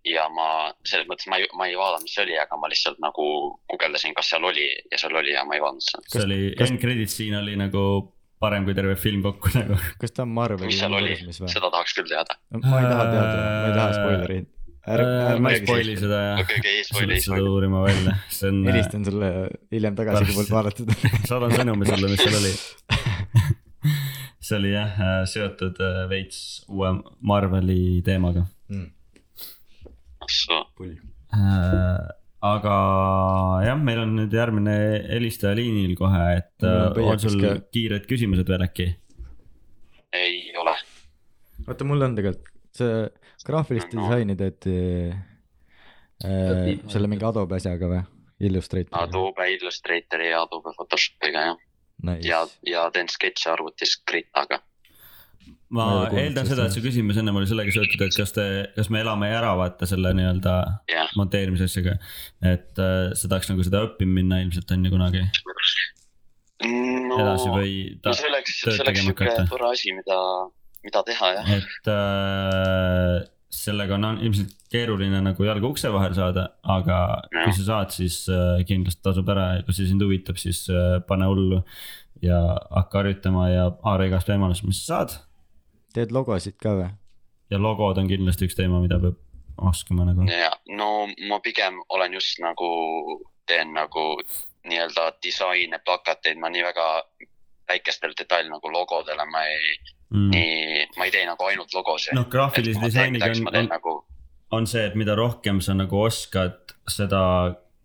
ja ma selles mõttes ma ei , ma ei vaadanud , mis see oli , aga ma lihtsalt nagu guugeldasin , kas seal oli ja seal oli ja ma ei vaadanud seda .
see oli ,
kas-
end credit siin oli nagu parem kui terve film kokku nagu .
kas ta on Marveli
mis seal oli ,
või ?
seda tahaks küll teada .
ma ei taha teada , ma ei taha spoilereid .
Äh, ma ei spoil'i seda jah ,
okei , okei ,
sa
spoil
pead
ei
seda
spoil .
uurima välja , see on ,
helistan sulle hiljem tagasi , kui
Pärast-
poolt vaadatud .
saadan sõnumi sulle , mis seal oli . see oli jah äh, seotud äh, veits uue Marveli teemaga .
Mm.
äh, . aga jah , meil on nüüd järgmine helistaja liinil kohe , et
Mul on
äh, on sul
pöiakas ka.
kiired küsimused veel äkki ?
ei ole .
oota , mul on tegelikult , see graafilist
No.
disaini teete äh, selle mingi Adobe asjaga või ? Illustratoriga ?
Adobe Illustratori ja Adobe Photoshopiga jah , ja
Nice .,
ja teen sketši arvutis Kritaga .
ma
Ma ei ole kuulnud
eeldan
sellest,
seda , et su küsimus ennem oli sellega seotud , et kas te , kas me elame ära vaata selle nii-öelda
Jah.
monteerimise asjaga . et äh, sa tahaks nagu seda õppima minna ilmselt on ju kunagi
no
edasi või ta ,
see oleks ,
tööd
see oleks
tegema
siuke
hakata.
tore asi , mida , mida teha jah .
et äh, sellega on ilmselt keeruline nagu jalga ukse vahel saada , aga
Jah.
kui sa saad , siis äh, kindlasti tasub ära ja kui see sind huvitab , siis äh, pane hullu ja hakka harjutama ja haara igast võimalust , mis sa saad .
teed logosid ka või ?
ja logod on kindlasti üks teema , mida peab oskama nagu .
ja no ma pigem olen just nagu , teen nagu nii-öelda disaine , plakateid , ma nii väga väikestel detail nagu logodele ma ei mm. ,
Mm.
nii , ma ei tee nagu ainult logosid .
noh , graafilise disainiga
on . ma
on ,
teen
on ,
nagu ,
on see , et mida rohkem sa nagu oskad , seda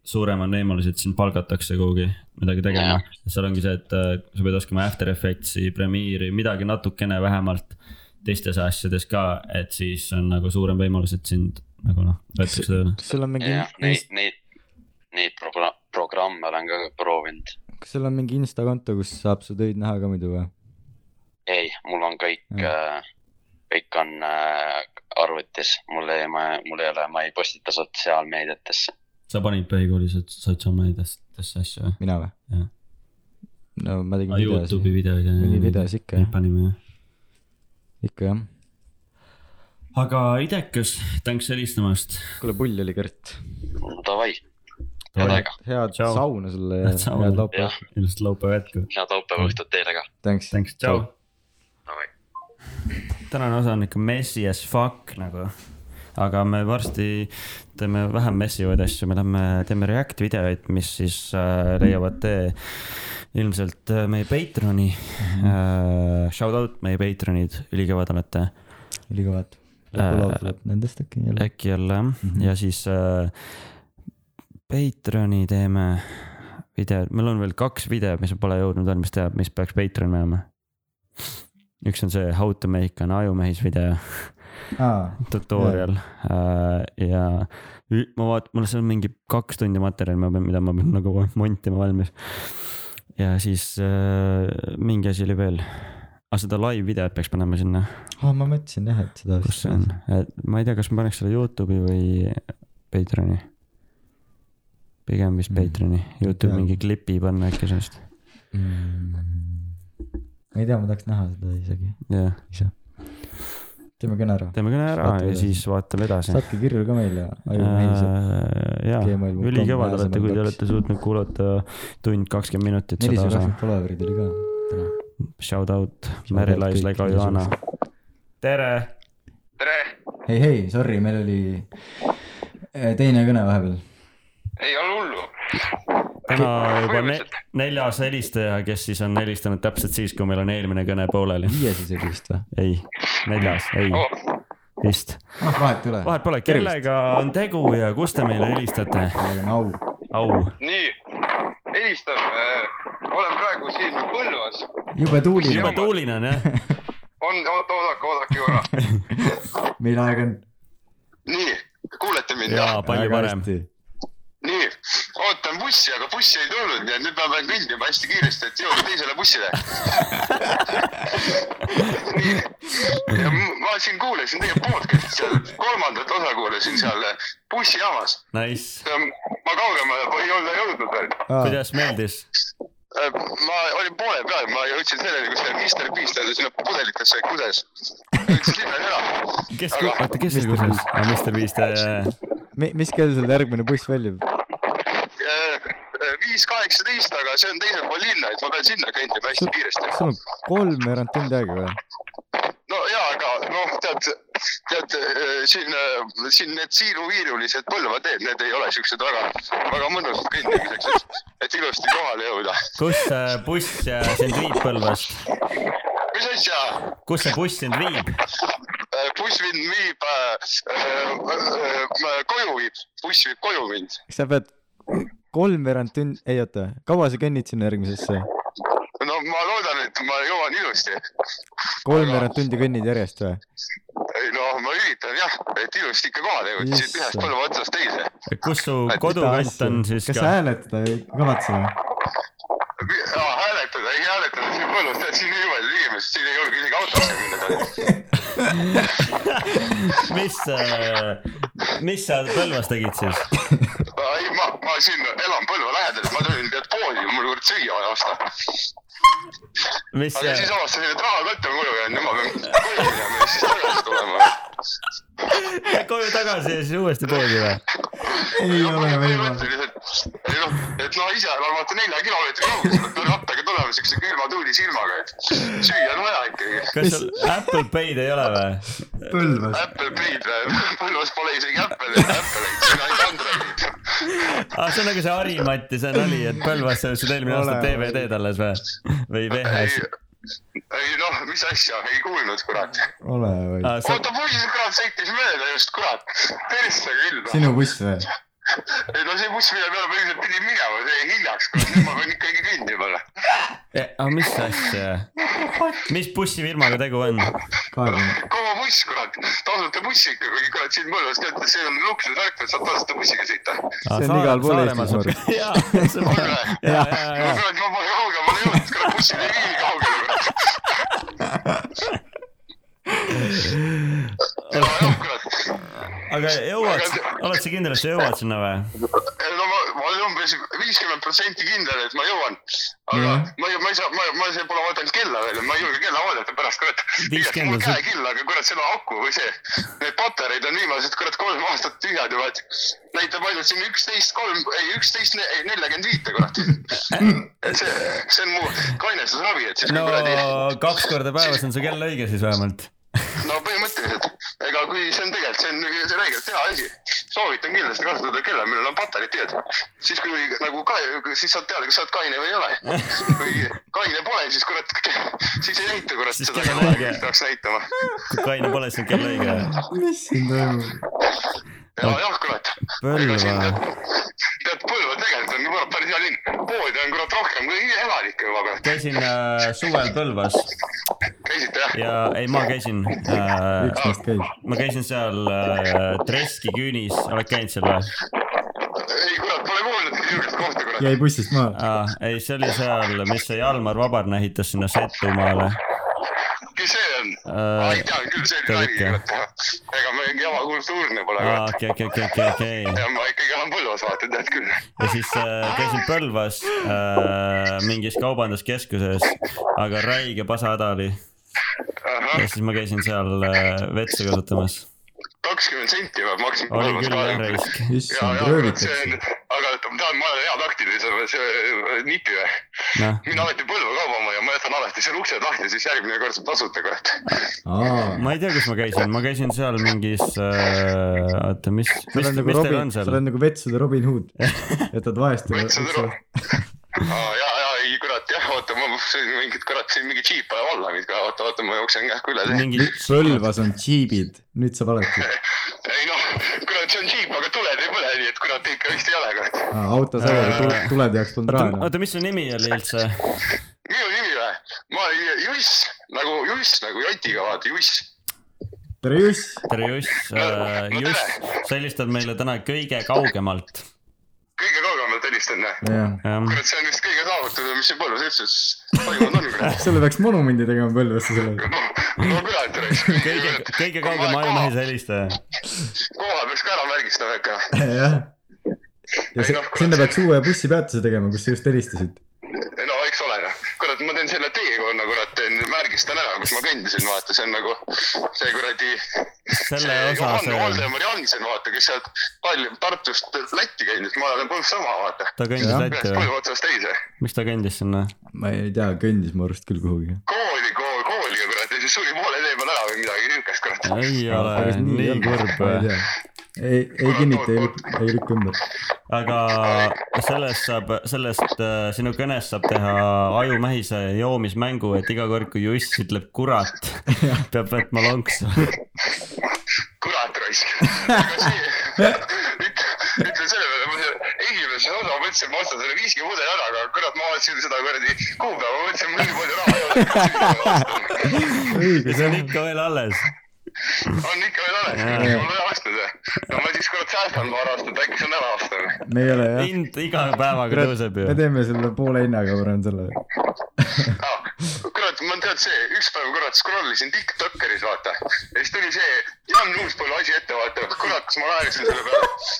suurem on võimalus , et sind palgatakse kuhugi midagi tegema . seal ongi see , et äh, sa pead oskama After Effectsi , Premiere'i , midagi natukene vähemalt teistes asjades ka , et siis on nagu suurem võimalus , et sind nagu noh , võetakse tööle .
kas sul on mingi
jah ,
inst-
neid , neid , neid progra- , programme olen ka proovinud .
kas sul on mingi insta konto , kus saab su töid näha ka muidu või ?
ei , mul on kõik
Mm.
mm. , kõik on äh, arvutis , mul ei , ma , mul ei ole , ma ei postita sotsiaalmeediatesse .
sa panid põhikoolis sots- sotsiaalmeediatesse asju või ?
mina või
Jah. ?
no ma tegin
Youtube'i
videosid ,
videoid ja .
mingi videos ikka
Neid
jah ,
panime jah .
ikka jah .
aga idekas , thanks helistamast .
kuule , pull oli Kert .
Davai , head
Davai.
aega ,
head
Tšau.
sauna sulle ja
Head sauna.
head
jah
laupäeva .,
ilusat laupäeva jätku .
head laupäeva õhtut teile ka .
thanks .
Thanks , tšau .
Davai.
tänane osa on ikka messy as fuck nagu , aga me varsti teeme vähem messy vaid asju , me lähme teeme React videoid , mis siis äh, leiavad tee ilmselt äh, meie Patreoni äh, . Shout out meie Patreonid , ülikõvad olete
ülikõvad .
Äh,
lõpulaul tuleb nendest äkki jälle .
äkki jälle jah , ja siis äh, Patreoni teeme video , meil on veel kaks videot , mis pole jõudnud veel , mis teab , mis peaks Patreoni minema . üks on see How to make an ajumehis video
aa ,
tutorial äh, ja ü- ma vaatan , mul seal on mingi kaks tundi materjali , mida ma pean nagu montima valmis . ja siis äh, mingi asi oli veel , aga seda live-videot peaks panema sinna ,
aa , ma mõtlesin jah , et seda .
kus see on , ma ei tea , kas ma paneks selle Youtube'i või Patreon'i . pigem vist
Mm.
Patreon'i , Youtube
Ei tea.
mingi klipi panna äkki sellest ,
mm. . ma ei tea , ma tahaks näha seda isegi
jah .
ise . teeme kõne ära .
teeme kõne ära
Vaatame
ja
edasi.
siis vaatame edasi .
saatke kirju ka meile .
jaa ,
gmail.com
ülikõvad olete , kui te
pääsematu.
olete suutnud kuulata tund kakskümmend minutit seda
nelisada
osa .
kakskümmend follower'id oli ka täna .
Shout out ,
Shout out
Meri-Lais
kõik
Lego Joana
ilusad. .
tere !
tere ,
ei , ei , sorry , meil oli eh, teine kõne vahepeal .
ei ole hullu .
täna juba ne
Põhimõtteliselt.
neljas helistaja , kes siis on helistanud täpselt siis , kui meil on eelmine kõne pooleli .
viies isegi vist või ?
ei , neljas , ei
Oh. ,
vist .
ah , vahet ei ole .
vahet pole , kellega on tegu ja kus te meile helistate ?
meil on au .
au ,
nii , helistame , olen praegu siin Põlvas ,
jube tuuline
jube , tuuline on jah .
on , oodake , oodake korra .
meil aega on .
nii , kuulete mind jah ?
jaa , palju parem .
nii , ootan bussi , aga bussi ei tulnud , nii et nüüd ma pean kõndima hästi kiiresti , et jõuda teisele bussile . nii , ja m- ma siin kuulasin teie podcast'i seal , kolmandat osa kuulasin seal eh, bussijaamas .
Nice ,
ma kaugemale ei ole jõudnud veel
Ah,
Eh,
kuidas meeldis ?
ma olin poole peal , ma jõudsin selleni , kus see Mr Beast oli sinna pudelitesse kudes . jõudsin sinna ära .
kes ,
Aga-
oota , kes see kuskil , Mr Beast , äh,
mis kell sul järgmine buss väljub ?
Eh, viis kaheksateist , aga see on teisel pool linna , et ma pean sinna kõndima hästi
sul
kiiresti
on . kolmveerand tundi aega või ?
no ja , aga noh , tead , tead eh, siin , siin need siiruviirulised Põlva teed , need ei ole siuksed väga , väga mõnusad kõndimiseks , et , et ilusti kohale jõuda .
kus see buss äh, sind viib Põlvast ?
mis asja ?
kus see buss sind viib ?
buss mind viib äh, äh, äh, koju viib , buss viib koju mind .
kas sa pead kolmveerand tund , ei oota , kaua sa kõnnid sinna järgmisesse ?
no ma loodan , et ma jõuan ilusti .
kolmveerand tundi kõnnid järjest või ?
ei no ma üritan jah , et ilusti ikka kohale jõuda , siit
Issand.
ühest põlve otsast teise .
kus su kodukant on siis
kas sa
ka ?
hääletada ei kavatse või ?
hääletada , ei hääletada siin põllus , tead siin nii palju inimesi , siin ei julge isegi autosse minna .
mis , mis sa Põlvas tegid siis ?
ei ma , ma siin elan Põlva lähedal , ma tulin tead poodi , mul kord süüa vaja osta .
mis
aga siis
see ,
avastasin , et rahakott on koju jäänud ja ma pean koju minema ja siis tagasi tulema .
äh, koju tagasi ja siis uuesti poodi või ?
ei ole võimalik .
põhimõtteliselt , ei noh , et no ise olen vaata nelja kilomeetri kaugusel , pean rattaga tulema siukse külma tuuli silmaga , et süüa on vaja ikkagi .
kas sul Apple Pay'd ei ole või ?
Põlvas .
Apple Pay'd või , Põlvas pole isegi Apple'it , Apple'it , siin on ainult Androidid .
aa , see on nagu see Harimati see nali , et Põlvas sa ütlesid eelmine aasta
Ole-
DVD-d alles või ? või VHS ?
ei , ei noh , mis asja , ei kuulnud , kurat .
ole või ?
aa , sa ,
oota , poiss , kurat , sõitis mööda just , kurat . noh. perssega ilma .
sinu buss või ?
ei no see buss , mille peale ma ilmselt pidin minema , see jäi hiljaks , kurat , nüüd ma pean ikkagi kõndima .
aa Eh, ah, mis asja ? mis bussifirmaga tegu on ? Ah,
kaevame .
kaua buss , kurat , tasuta buss ikka , kuigi kurat siin Põlvas teate , see on luksusvärk , et saad tasuta bussiga sõita .
See on igal pool Eestis, ma arvan.
jaa , see on , jaa , jaa ,
no
jaa .
kurat , ma pole kaugemale jõudnud , kurat bussid ei vii kaugele , kurat . no jah , kurat ,
aga jõuad , oled sa kindel , et sa jõuad sinna või ?
no ma , ma olen umbes viiskümmend protsenti kindel , et ma jõuan . aga
Mhm.
ma , ma ei saa , ma , ma see pole vaadanud kella veel , ma ei julge kella vaadata pärast , kurat .
50
mul
on see-
käekill , aga kurat , selle aku või see , need patareid on viimased , kurat , kolm aastat tühjad juba , et näitab ainult siin üksteist , kolm , ei üksteist , ei neljakümmend viite , kurat . see , see on mu kainestusravi , et siis
no
kuradi
kaks korda päevas on su kell õige siis vähemalt .
no põhimõtteliselt , ega kui see on tegelikult , see on see räigelt hea asi . soovitan kindlasti kasutada kella , millel on patareid teed . siis kui nagu ka , siis saad teada , kas sa oled kaine või ei ole . kui kaine pole , siis kurat , siis ei näita kurat
Siis
seda
kell on
kella ,
õige.
mis peaks näitama .
kui kaine pole , siis on kell õige .
mis siin toimub ?
ja jah , kurat .
Põlva ,
tead , Põlva tegelikult on kurat päris hea linn . poodi on kurat rohkem kui elanikke juba kurat .
käisin äh, suvel Põlvas
käisite jah ?
ja ei , ma käisin äh,
üks , neist käib .
ma käisin seal äh, Treski küünis , oled käinud seal või ?
ei kurat , pole kuulnudki , niisugust kohta kurat .
jäi bussist maha .
ah, . ei , see oli seal , mis see Jalmar Vabarna ehitas sinna Setumaale
kes see on ?
äh,
ma ei . tea küll , see oli
tead
nali
ikka. ,
ega ma mingi jama kultuurne pole ,
aa ,
kurat .
okei , okei , okei , okei , okei .
ja ma ikkagi olen Põlvas vaata , tead küll .
ja siis äh, käisin Põlvas äh, mingis kaubanduskeskuses , aga räige pasahäda oli
ahah
ja , siis ma käisin seal äh, vetsu kasutamas .
kakskümmend senti peab maksma
oli
Põlvas
küll
ka .
jah raisk .
ja ,
issand ,
ja , see on
röövitakse .,
aga oota, ma tahan , ma olen hea taktiline , see nipi või ?
noh ,
mina alati Põlva kaubama ja ma jätan alati seal uksed lahti , siis järgmine kord saab tasuta , kurat .
aa ,
ma ei tea , kus ma käisin , ma käisin seal mingis äh, , oota , mis ,
sa
mis
oled , nagu
mis teil
Robin ,
on
sa
seal
oled ? nagu vetsude Robin Hood . jätad vaestele .
Vetsude Robin. aa , ja , ja ei kurat jah , oota , ma sõin mingit kurat , siin mingi džiip ajab alla mind ka , oota , oota , ma jooksen kähku üle .
mingi ,
Põlvas on džiibid , nüüd saab alati .
ei noh , kurat , see on džiip , aga tuled ei põle , nii et kurat ikka vist ei ole , kurat .
auto sageli
Äh.
tuled jaoks polnud raha
oota , mis su nimi oli üldse ?
minu nimi või ? ma olen Juss , nagu Juss , nagu jotiga , vaata Juss .
enam . tere , Juss .
tere , Juss äh, . Juss , sa helistad meile täna kõige kaugemalt .
kõige kaugemalt helistan , näe .
jah ,
jah ,
kurat , see on vist kõige saavutatud , mis siin Põlvas üldse toimunud on , kurat .
selle peaks monumendi tegema Põlvasse sellele .
no kurat , oleks .
kõige , kõige kaugem ajumehise helistaja .
koha peaks ka ära märgistama ikka .
jah . ja
Ei
see
noh, ,
sinna peaks uue bussipeatuse tegema , kus sa just helistasid .
no eks ole noh , kurat , ma teen selle teekonna , kurat , teen , märgistan ära , kus ma kõndisin , vaata , see on nagu see kuradi .
selle osa see ,
Valdemar Jansen , vaata , kes sealt Tallinn , Tartust Lätti käinud , ma olen põhimõtteliselt sama , vaata .
ta kõndis
Jah.
Lätti
ühest
või ?
põlve otsast teise .
miks ta kõndis sinna ?
ma ei tea , kõndis mu arust küll kuhugi .
kooli , kooli , kooliga kurat ja siis suri poole tee peal ära või midagi niukest , kurat .
ei ole nii kurb . äh.
ei , ei kinnita , ei lükka , ei lükka ümber .
aga sellest saab , sellest äh, sinu kõnest saab teha ajumähise joomismängu , et iga kord , kui Juss ütleb kurat , peab võtma lonksu .
kurat raisk . ütle selle peale , ma selle esimese osa mõtlesin , ma ostan selle viski mudeli ära , aga kurat , ma vaatasin seda kuradi kuupäeva , mõtlesin , mul nii palju raha ei ole .
õige ,
see
see
on ikka veel alles .
on ikka veel
Jaa.
alles , mul ei ostnud või ? no ma siis kurat säästan paar aastat , äkki saan ära osta või ?
on , me ei ole jah .
hind iga päevaga tõuseb
me
ju .
teeme selle poole hinnaga , ma arvan selle .
Ah, kurat , ma tead see , üks päev kurat scroll isin Tiktokeris vaata ja siis tuli see Jan Uuspõllu asi ette vaata , kurat , kas ma naersin selle peale .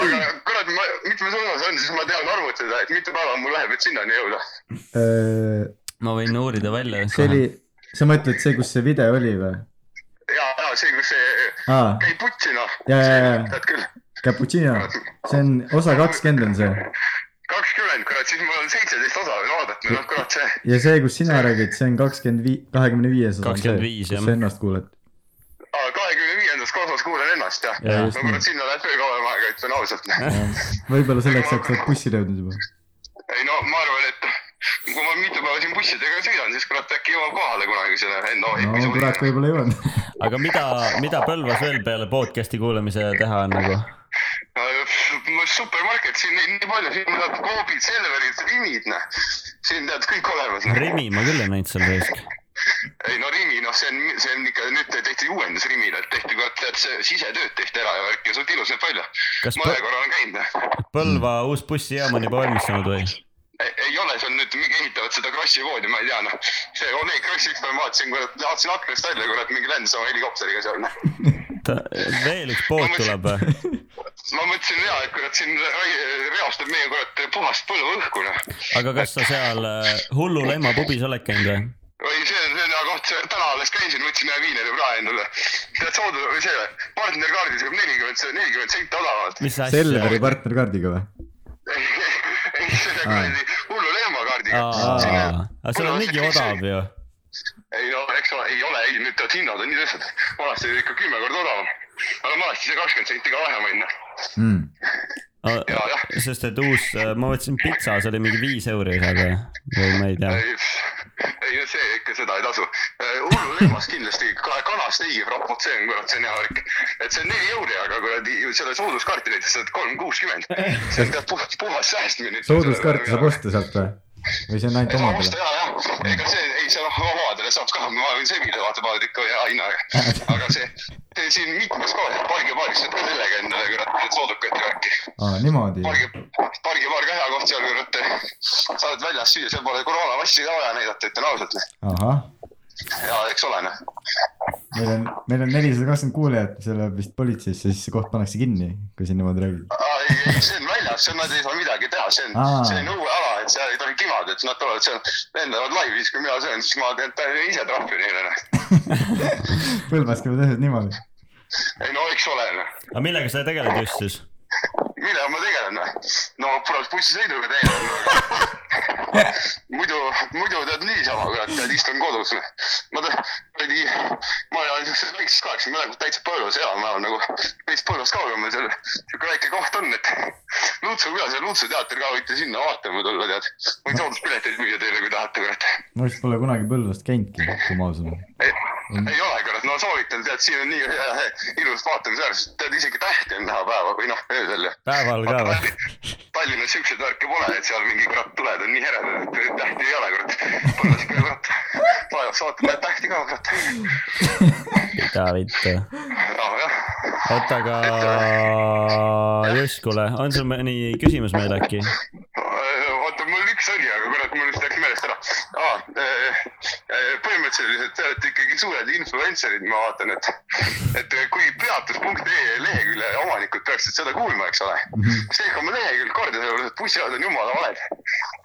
aga kurat , ma , mitmes osas on , siis ma tean arvutada , et mitu päeva mul läheb , et sinnani jõuda .
see
ma võin uurida välja .
Äh, oli , sa mõtled see , kus see video oli või ?
ja , ja see , kus see
aa ,
käib putsi noh .
Jaa, jaa, jaa.
tead küll ,
Cappuccino , see on osa kakskümmend on see
kakskümmend kurat , siis mul on seitseteist osa veel vaadata , noh kurat see .
ja see , kus sina räägid , see on kakskümmend viis , kahekümne viies osa on see ,
25,
kus
jah.
sa ennast kuulad .
kahekümne viiendas kosmos kuulen ennast jah .
Jaa,
no
just
kurat ,
nii.
sinna läheb veel kauem aega , ütlen ausalt .
võib-olla selleks ajaks oled bussile jõudnud juba .
ei no ma arvan , et kui ma mitu päeva siin bussidega sõidan , siis kurat äkki jõuab kohale kunagi selle enda
no kurat , võib-olla jõuad .
aga mida , mida Põlvas veel peale podcast'i kuulamise teha on nagu ?
hoidmise . Äh, supermarket , siin neid nii palju , siin on koobid , Selverid , Rimid , noh . siin tead kõik olemas .
Rimi ma küll ei näinud seal raisk .
ei no Rimi , noh , see on , see on ikka nüüd tehti uuendus Rimile , et tehti kurat , tead see sisetööd tehti ära ja värki ja suht ilus näeb välja .
kas
ma ühe
Põ-
korra olen käinud , noh .
Põlva uus bussijaam on juba valmis saanud või ?
ei ei ole , seal nüüd mingi ehitavad seda Krossi voodi , ma ei tea , noh . see Oleg Kross , üks päev ma vaatasin , kurat , vaatasin aknast välja , kurat , mingi lendas oma helikopteriga seal , noh
ta , veel üks pood tuleb või ?
ma mõtlesin ja , et kurat siin rai- reostab meie kurat puhast põlluõhku noh .
aga kas sa seal äh, hullu lemma pubis oled käinud või ?
või see , see on hea koht , täna alles käisin , võtsin ühe viineri prae endale . tead soodu või see partnerkaardis jääb nelikümmend , nelikümmend senti odavamalt .
mis
Selveri
asja ?
partnerkaardiga või ?
ei , selle kuradi hullu
aa ,
lehmakaardiga .
aga seal on mingi odav ju .
ei no eks ole , ei ole , ei nüüd tead hinnad on nii tõstnud . vanasti oli ikka kümme korda odavam . aga vanasti sai kakskümmend senti ka vähem onju .
Hmm.
ja jah ,
sest et uus , ma võtsin pitsa , see oli mingi viis euri seal või ? või ma ei tea .
ei , ei no see ikka seda ei tasu . hullu lehmas kindlasti ka- kanast ei rapot , see on kurat , see on hea värk . et see on neli euri , aga kuradi selle sooduskaarti näiteks saad kolm kuuskümmend . see on tead puhas , puhas säästmine .
sooduskaarte saab . osta sealt või ? või see on ainult
saab osta
omadele ?
ja , ja , ega see , ei see noh , omadele saab ka , ma võin sebida , vaata , paned ikka hea hinnaga . aga see , see siin mitmes kohas , pargipaaris saab ka sellega endale kurat soodukat ja värki .
aa , niimoodi .
pargi , pargipaar sa oled väljas süüa , seal pole koroonavassi ka vaja näidata , ütlen ausalt .
ahah ,
ja eks ole noh ,
meil on , meil on nelisada kakskümmend kuulajat , see läheb vist politseisse , siis see koht pannakse kinni , kui siin niimoodi räägid .
ei , ei see on väljas , see on , nad ei saa midagi teha , see
Aa.
on , see on õue ala , et seal ei tohi kimada , et nad tulevad seal , lendavad laivi , siis kui mina söön , siis ma teen teen ise trahvi neile noh .
Põlvas käivad asjad niimoodi .
ei no eks ole noh ,
aga millega sa tegeled just siis ?
millega ma tegelen noh , no kurat bussisõiduga tegelen . muidu , muidu tead niisama , kurat , tead istun kodus noh . ma tean , kuradi , ma elan siukses väikses kohas , ma elan täitsa põlves elan , ma elan nagu veits põlvest kaugemal seal , siuke väike koht on , et Lutsu külas ja Lutsu teater ka võite sinna vaatama tulla , tead . võin sooduspileteid müüa teile , kui tahate , kurat
ma vist pole kunagi Põlvast käinudki , kui ma aus olen .
ei ei ole , kurat , no soovitan , tead , siin on nii äh, ilus vaatamisväärsus , tead isegi tähti on näha päeva või noh , öösel ja .
Päeval ka või? ?
Tallinnas siukseid värke pole , et seal mingi kurat tuled on nii heredad , et tähti ei ole , kurat . pannes peale kurat , laevas vaatad , näed tähti ka , kurat .
mida vittu .
jah ,
oota , aga Jõskule , on sul mõni küsimus meil äkki ?
oota , mul üks oli , aga kurat , mul vist läks meelest ära . põhimõtteliselt te olete ikkagi suured influencer'id , ma vaatan , et , et kui peatus.ee lehekülje omanikud peaksid seda kuulma , eks ole
Mhm.
seega ma lehekülg korda sellepärast , et bussiajad on jumala valed .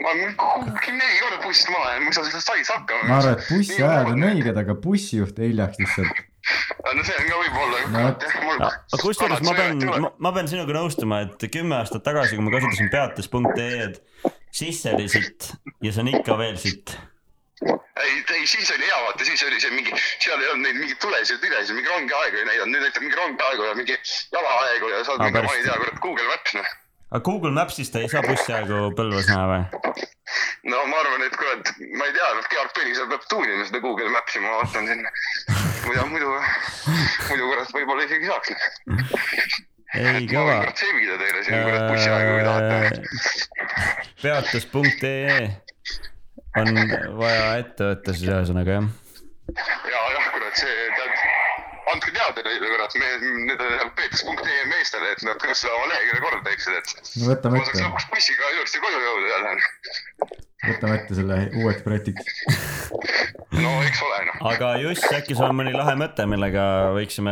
ma olen kuhugi neli korda bussist maha jäänud , mis sa sellest said hakkama .
ma arvan , et bussiajad on . õiged , aga bussijuht hiljaks lihtsalt .
Äh, no see on ka
No vot.
võib-olla .
Ah, kusjuures ma pean , ma pean sinuga nõustuma , et kümme aastat tagasi , kui ma kasutasin peatus.ee-d , siis see oli sitt ja see on ikka veel sitt .
ei , ei siis oli hea , vaata siis oli see mingi , seal ei olnud neid mingeid tulesid ja tülesid , mingi rongiaegu ei näidanud , nüüd näitab mingi rongiaegu ja mingi jalaaegu ja saad
Aa,
mingi , ma
päris.
ei tea , kurat , Google Maps noh .
aga Google Maps'ist ei saa bussiaegu Põlvas näha või ?
no ma arvan , et kurat , ma ei tea , noh , Georg Pelisel peab tuunima seda Google Maps'i , ma vaatan sinna . muidu , muidu , muidu kurat , võib-olla isegi saaks noh
ei ,
ma võin
kõva .
kurat sebida teile siin kurat bussiaegu , kui tahate .
Äh, peatus.ee on vaja ette võtta siis ühesõnaga jah .
ja jah , kurat , see , tead , andke teada neile kurat , me , need on nagu peetus.ee E meestele , et nad kas oma lehekülje korda teeksid , et
no võtame
ma saaks
ette ,
lõpuks bussiga ilusti koju jõuda jälle .
võtame ette selle uueks projektiks .
no eks ole noh ,
aga Juss , äkki sul on mõni lahe mõte , millega võiksime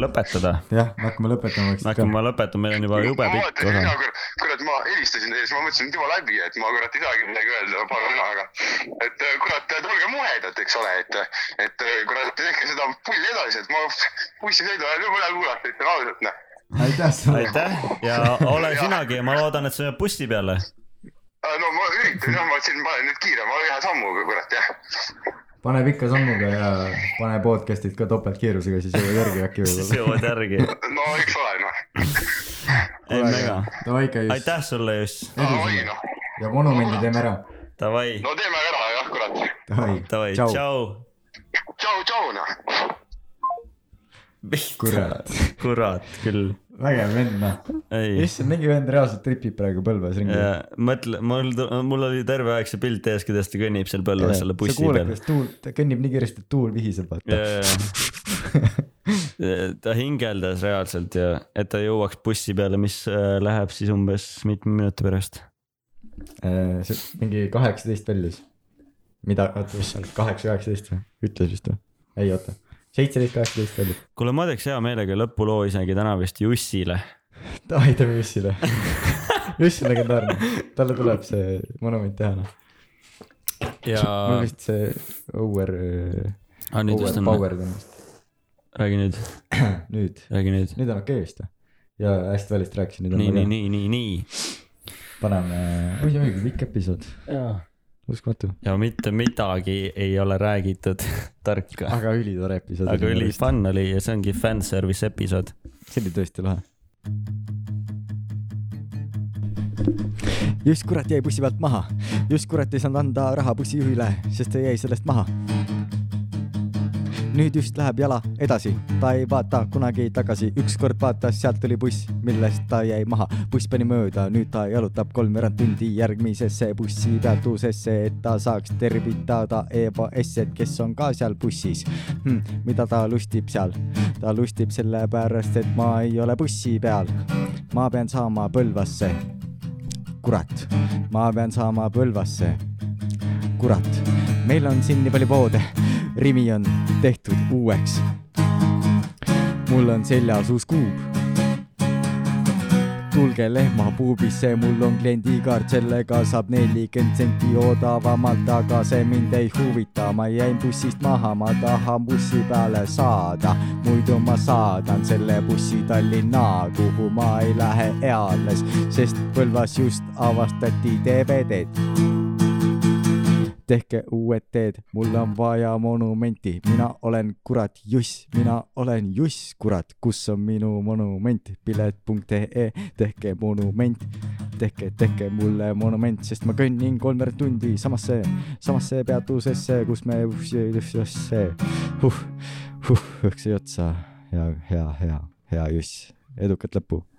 lõpetada ?
jah , me hakkame lõpetama , eks
äkki ma lõpetan , meil on juba jube
ma
pikk
mõtlesin
osa
mina . kurat , kurat , ma helistasin teile , siis ma mõtlesin , et juba läbi , et ma kurat ei saagi midagi öelda paari sõnaga . et äh, kurat , tulge muhedalt , eks ole , et , et äh, kurat , tehke seda pulli edasi , et ma bussisõidu ajal juba üle kuulata , ütlen ausalt noh .
aitäh sulle .
aitäh ja ole sinagi ja ma loodan , et sa jääd bussi peale .
Äh, no ma üritan jah , ma siin panen nüüd kiire , ma ühe sammuga kurat jah .
pane pika sammuga ja pane podcast'id ka topeltkiirusega , siis jõuad järgi äkki
siis
võib-olla .
jõuad järgi .
no eks ole noh .
ei mega .
davai , ikka just .
aitäh sulle , Juss .
davai noh ,
ja monumendi teeme ära .
Davai ,
no teeme ära jah kurat .
davai ,
davai , tšau .
tšau .
tšau , tšau noh .
kurat ,
kurat küll .
vägev vend noh .
ei ,
issand , mingi vend reaalselt tripib praegu Põlvas ringi .
mõtle , mul , mul oli terve aeg see pilt ees , kuidas ta kõnnib seal Põlvas selle
sa
bussi
kuuled ,
peal .
kuidas tuul , ta kõnnib nii kiiresti , et tuul vihiseb , vaata .
ta hingeldas reaalselt ja , et ta jõuaks bussi peale , mis äh, läheb siis umbes mitme minuti pärast .
Äh, see mingi kaheksateist väljus . mida , oota , mis see on , kaheksa , üheksateist või ? ütles vist või ? ei , oota , seitseteist , kaheksateist väljus .
kuule , ma teeks hea meelega lõpuloo isegi täna vist Jussile .
davai , teeme Jussile . Juss on legendaarne , talle tuleb see monument teha noh . mul
ja .
vist see over ,
Ah, nüüd vist
over
on-
powered on vist .
räägi nüüd ,
nüüd ,
räägi nüüd .
nüüd on okei vist või ? ja hästi välist rääkisin , nüüd on
nii , nii ,
väga-
nii , nii , nii .
paneme , oi , oi , pikk episood , uskumatu ,
ja mitte midagi ei ole räägitud tarka ,
aga ülitore episood .
aga ülipann oli ja see ongi fanservice episood .
see oli tõesti lahe . just kurat jäi bussi pealt maha , just kurat ei saanud anda raha bussijuhile , sest ta jäi sellest maha . nüüd just läheb jala edasi , ta ei vaata kunagi tagasi , ükskord vaatas , sealt oli buss , millest ta jäi maha . buss pani mööda , nüüd ta jalutab kolmveerand tundi järgmisesse bussipeatusesse , et ta saaks tervitada Eva S-et , kes on ka seal bussis hm, . mida ta lustib seal ? ta lustib sellepärast , et ma ei ole bussi peal . ma pean saama Põlvasse . kurat , ma pean saama Põlvasse , kurat , meil on siin nii palju poode , Rimi on tehtud uueks . mul on seljas uus kuub . tulge lehma puubisse , mul on kliendikaart , sellega saab nelikümmend senti odavamalt , aga see mind ei huvita , ma jäin bussist maha , ma tahan bussi peale saada , muidu ma saadan selle bussi Tallinna , kuhu ma ei lähe eales , sest Põlvas just avastati DVD-d tehke uued teed , mul on vaja monumenti , mina olen kurat Juss , mina olen Juss , kurat , kus on minu monument , pilet.ee , E. tehke monument , tehke , tehke mulle monument , sest ma kõnnin kolmveerand tundi samasse , samasse peatusesse , kus me huh, , huh, õksi otsa ja hea , hea , hea Juss , edukat lõppu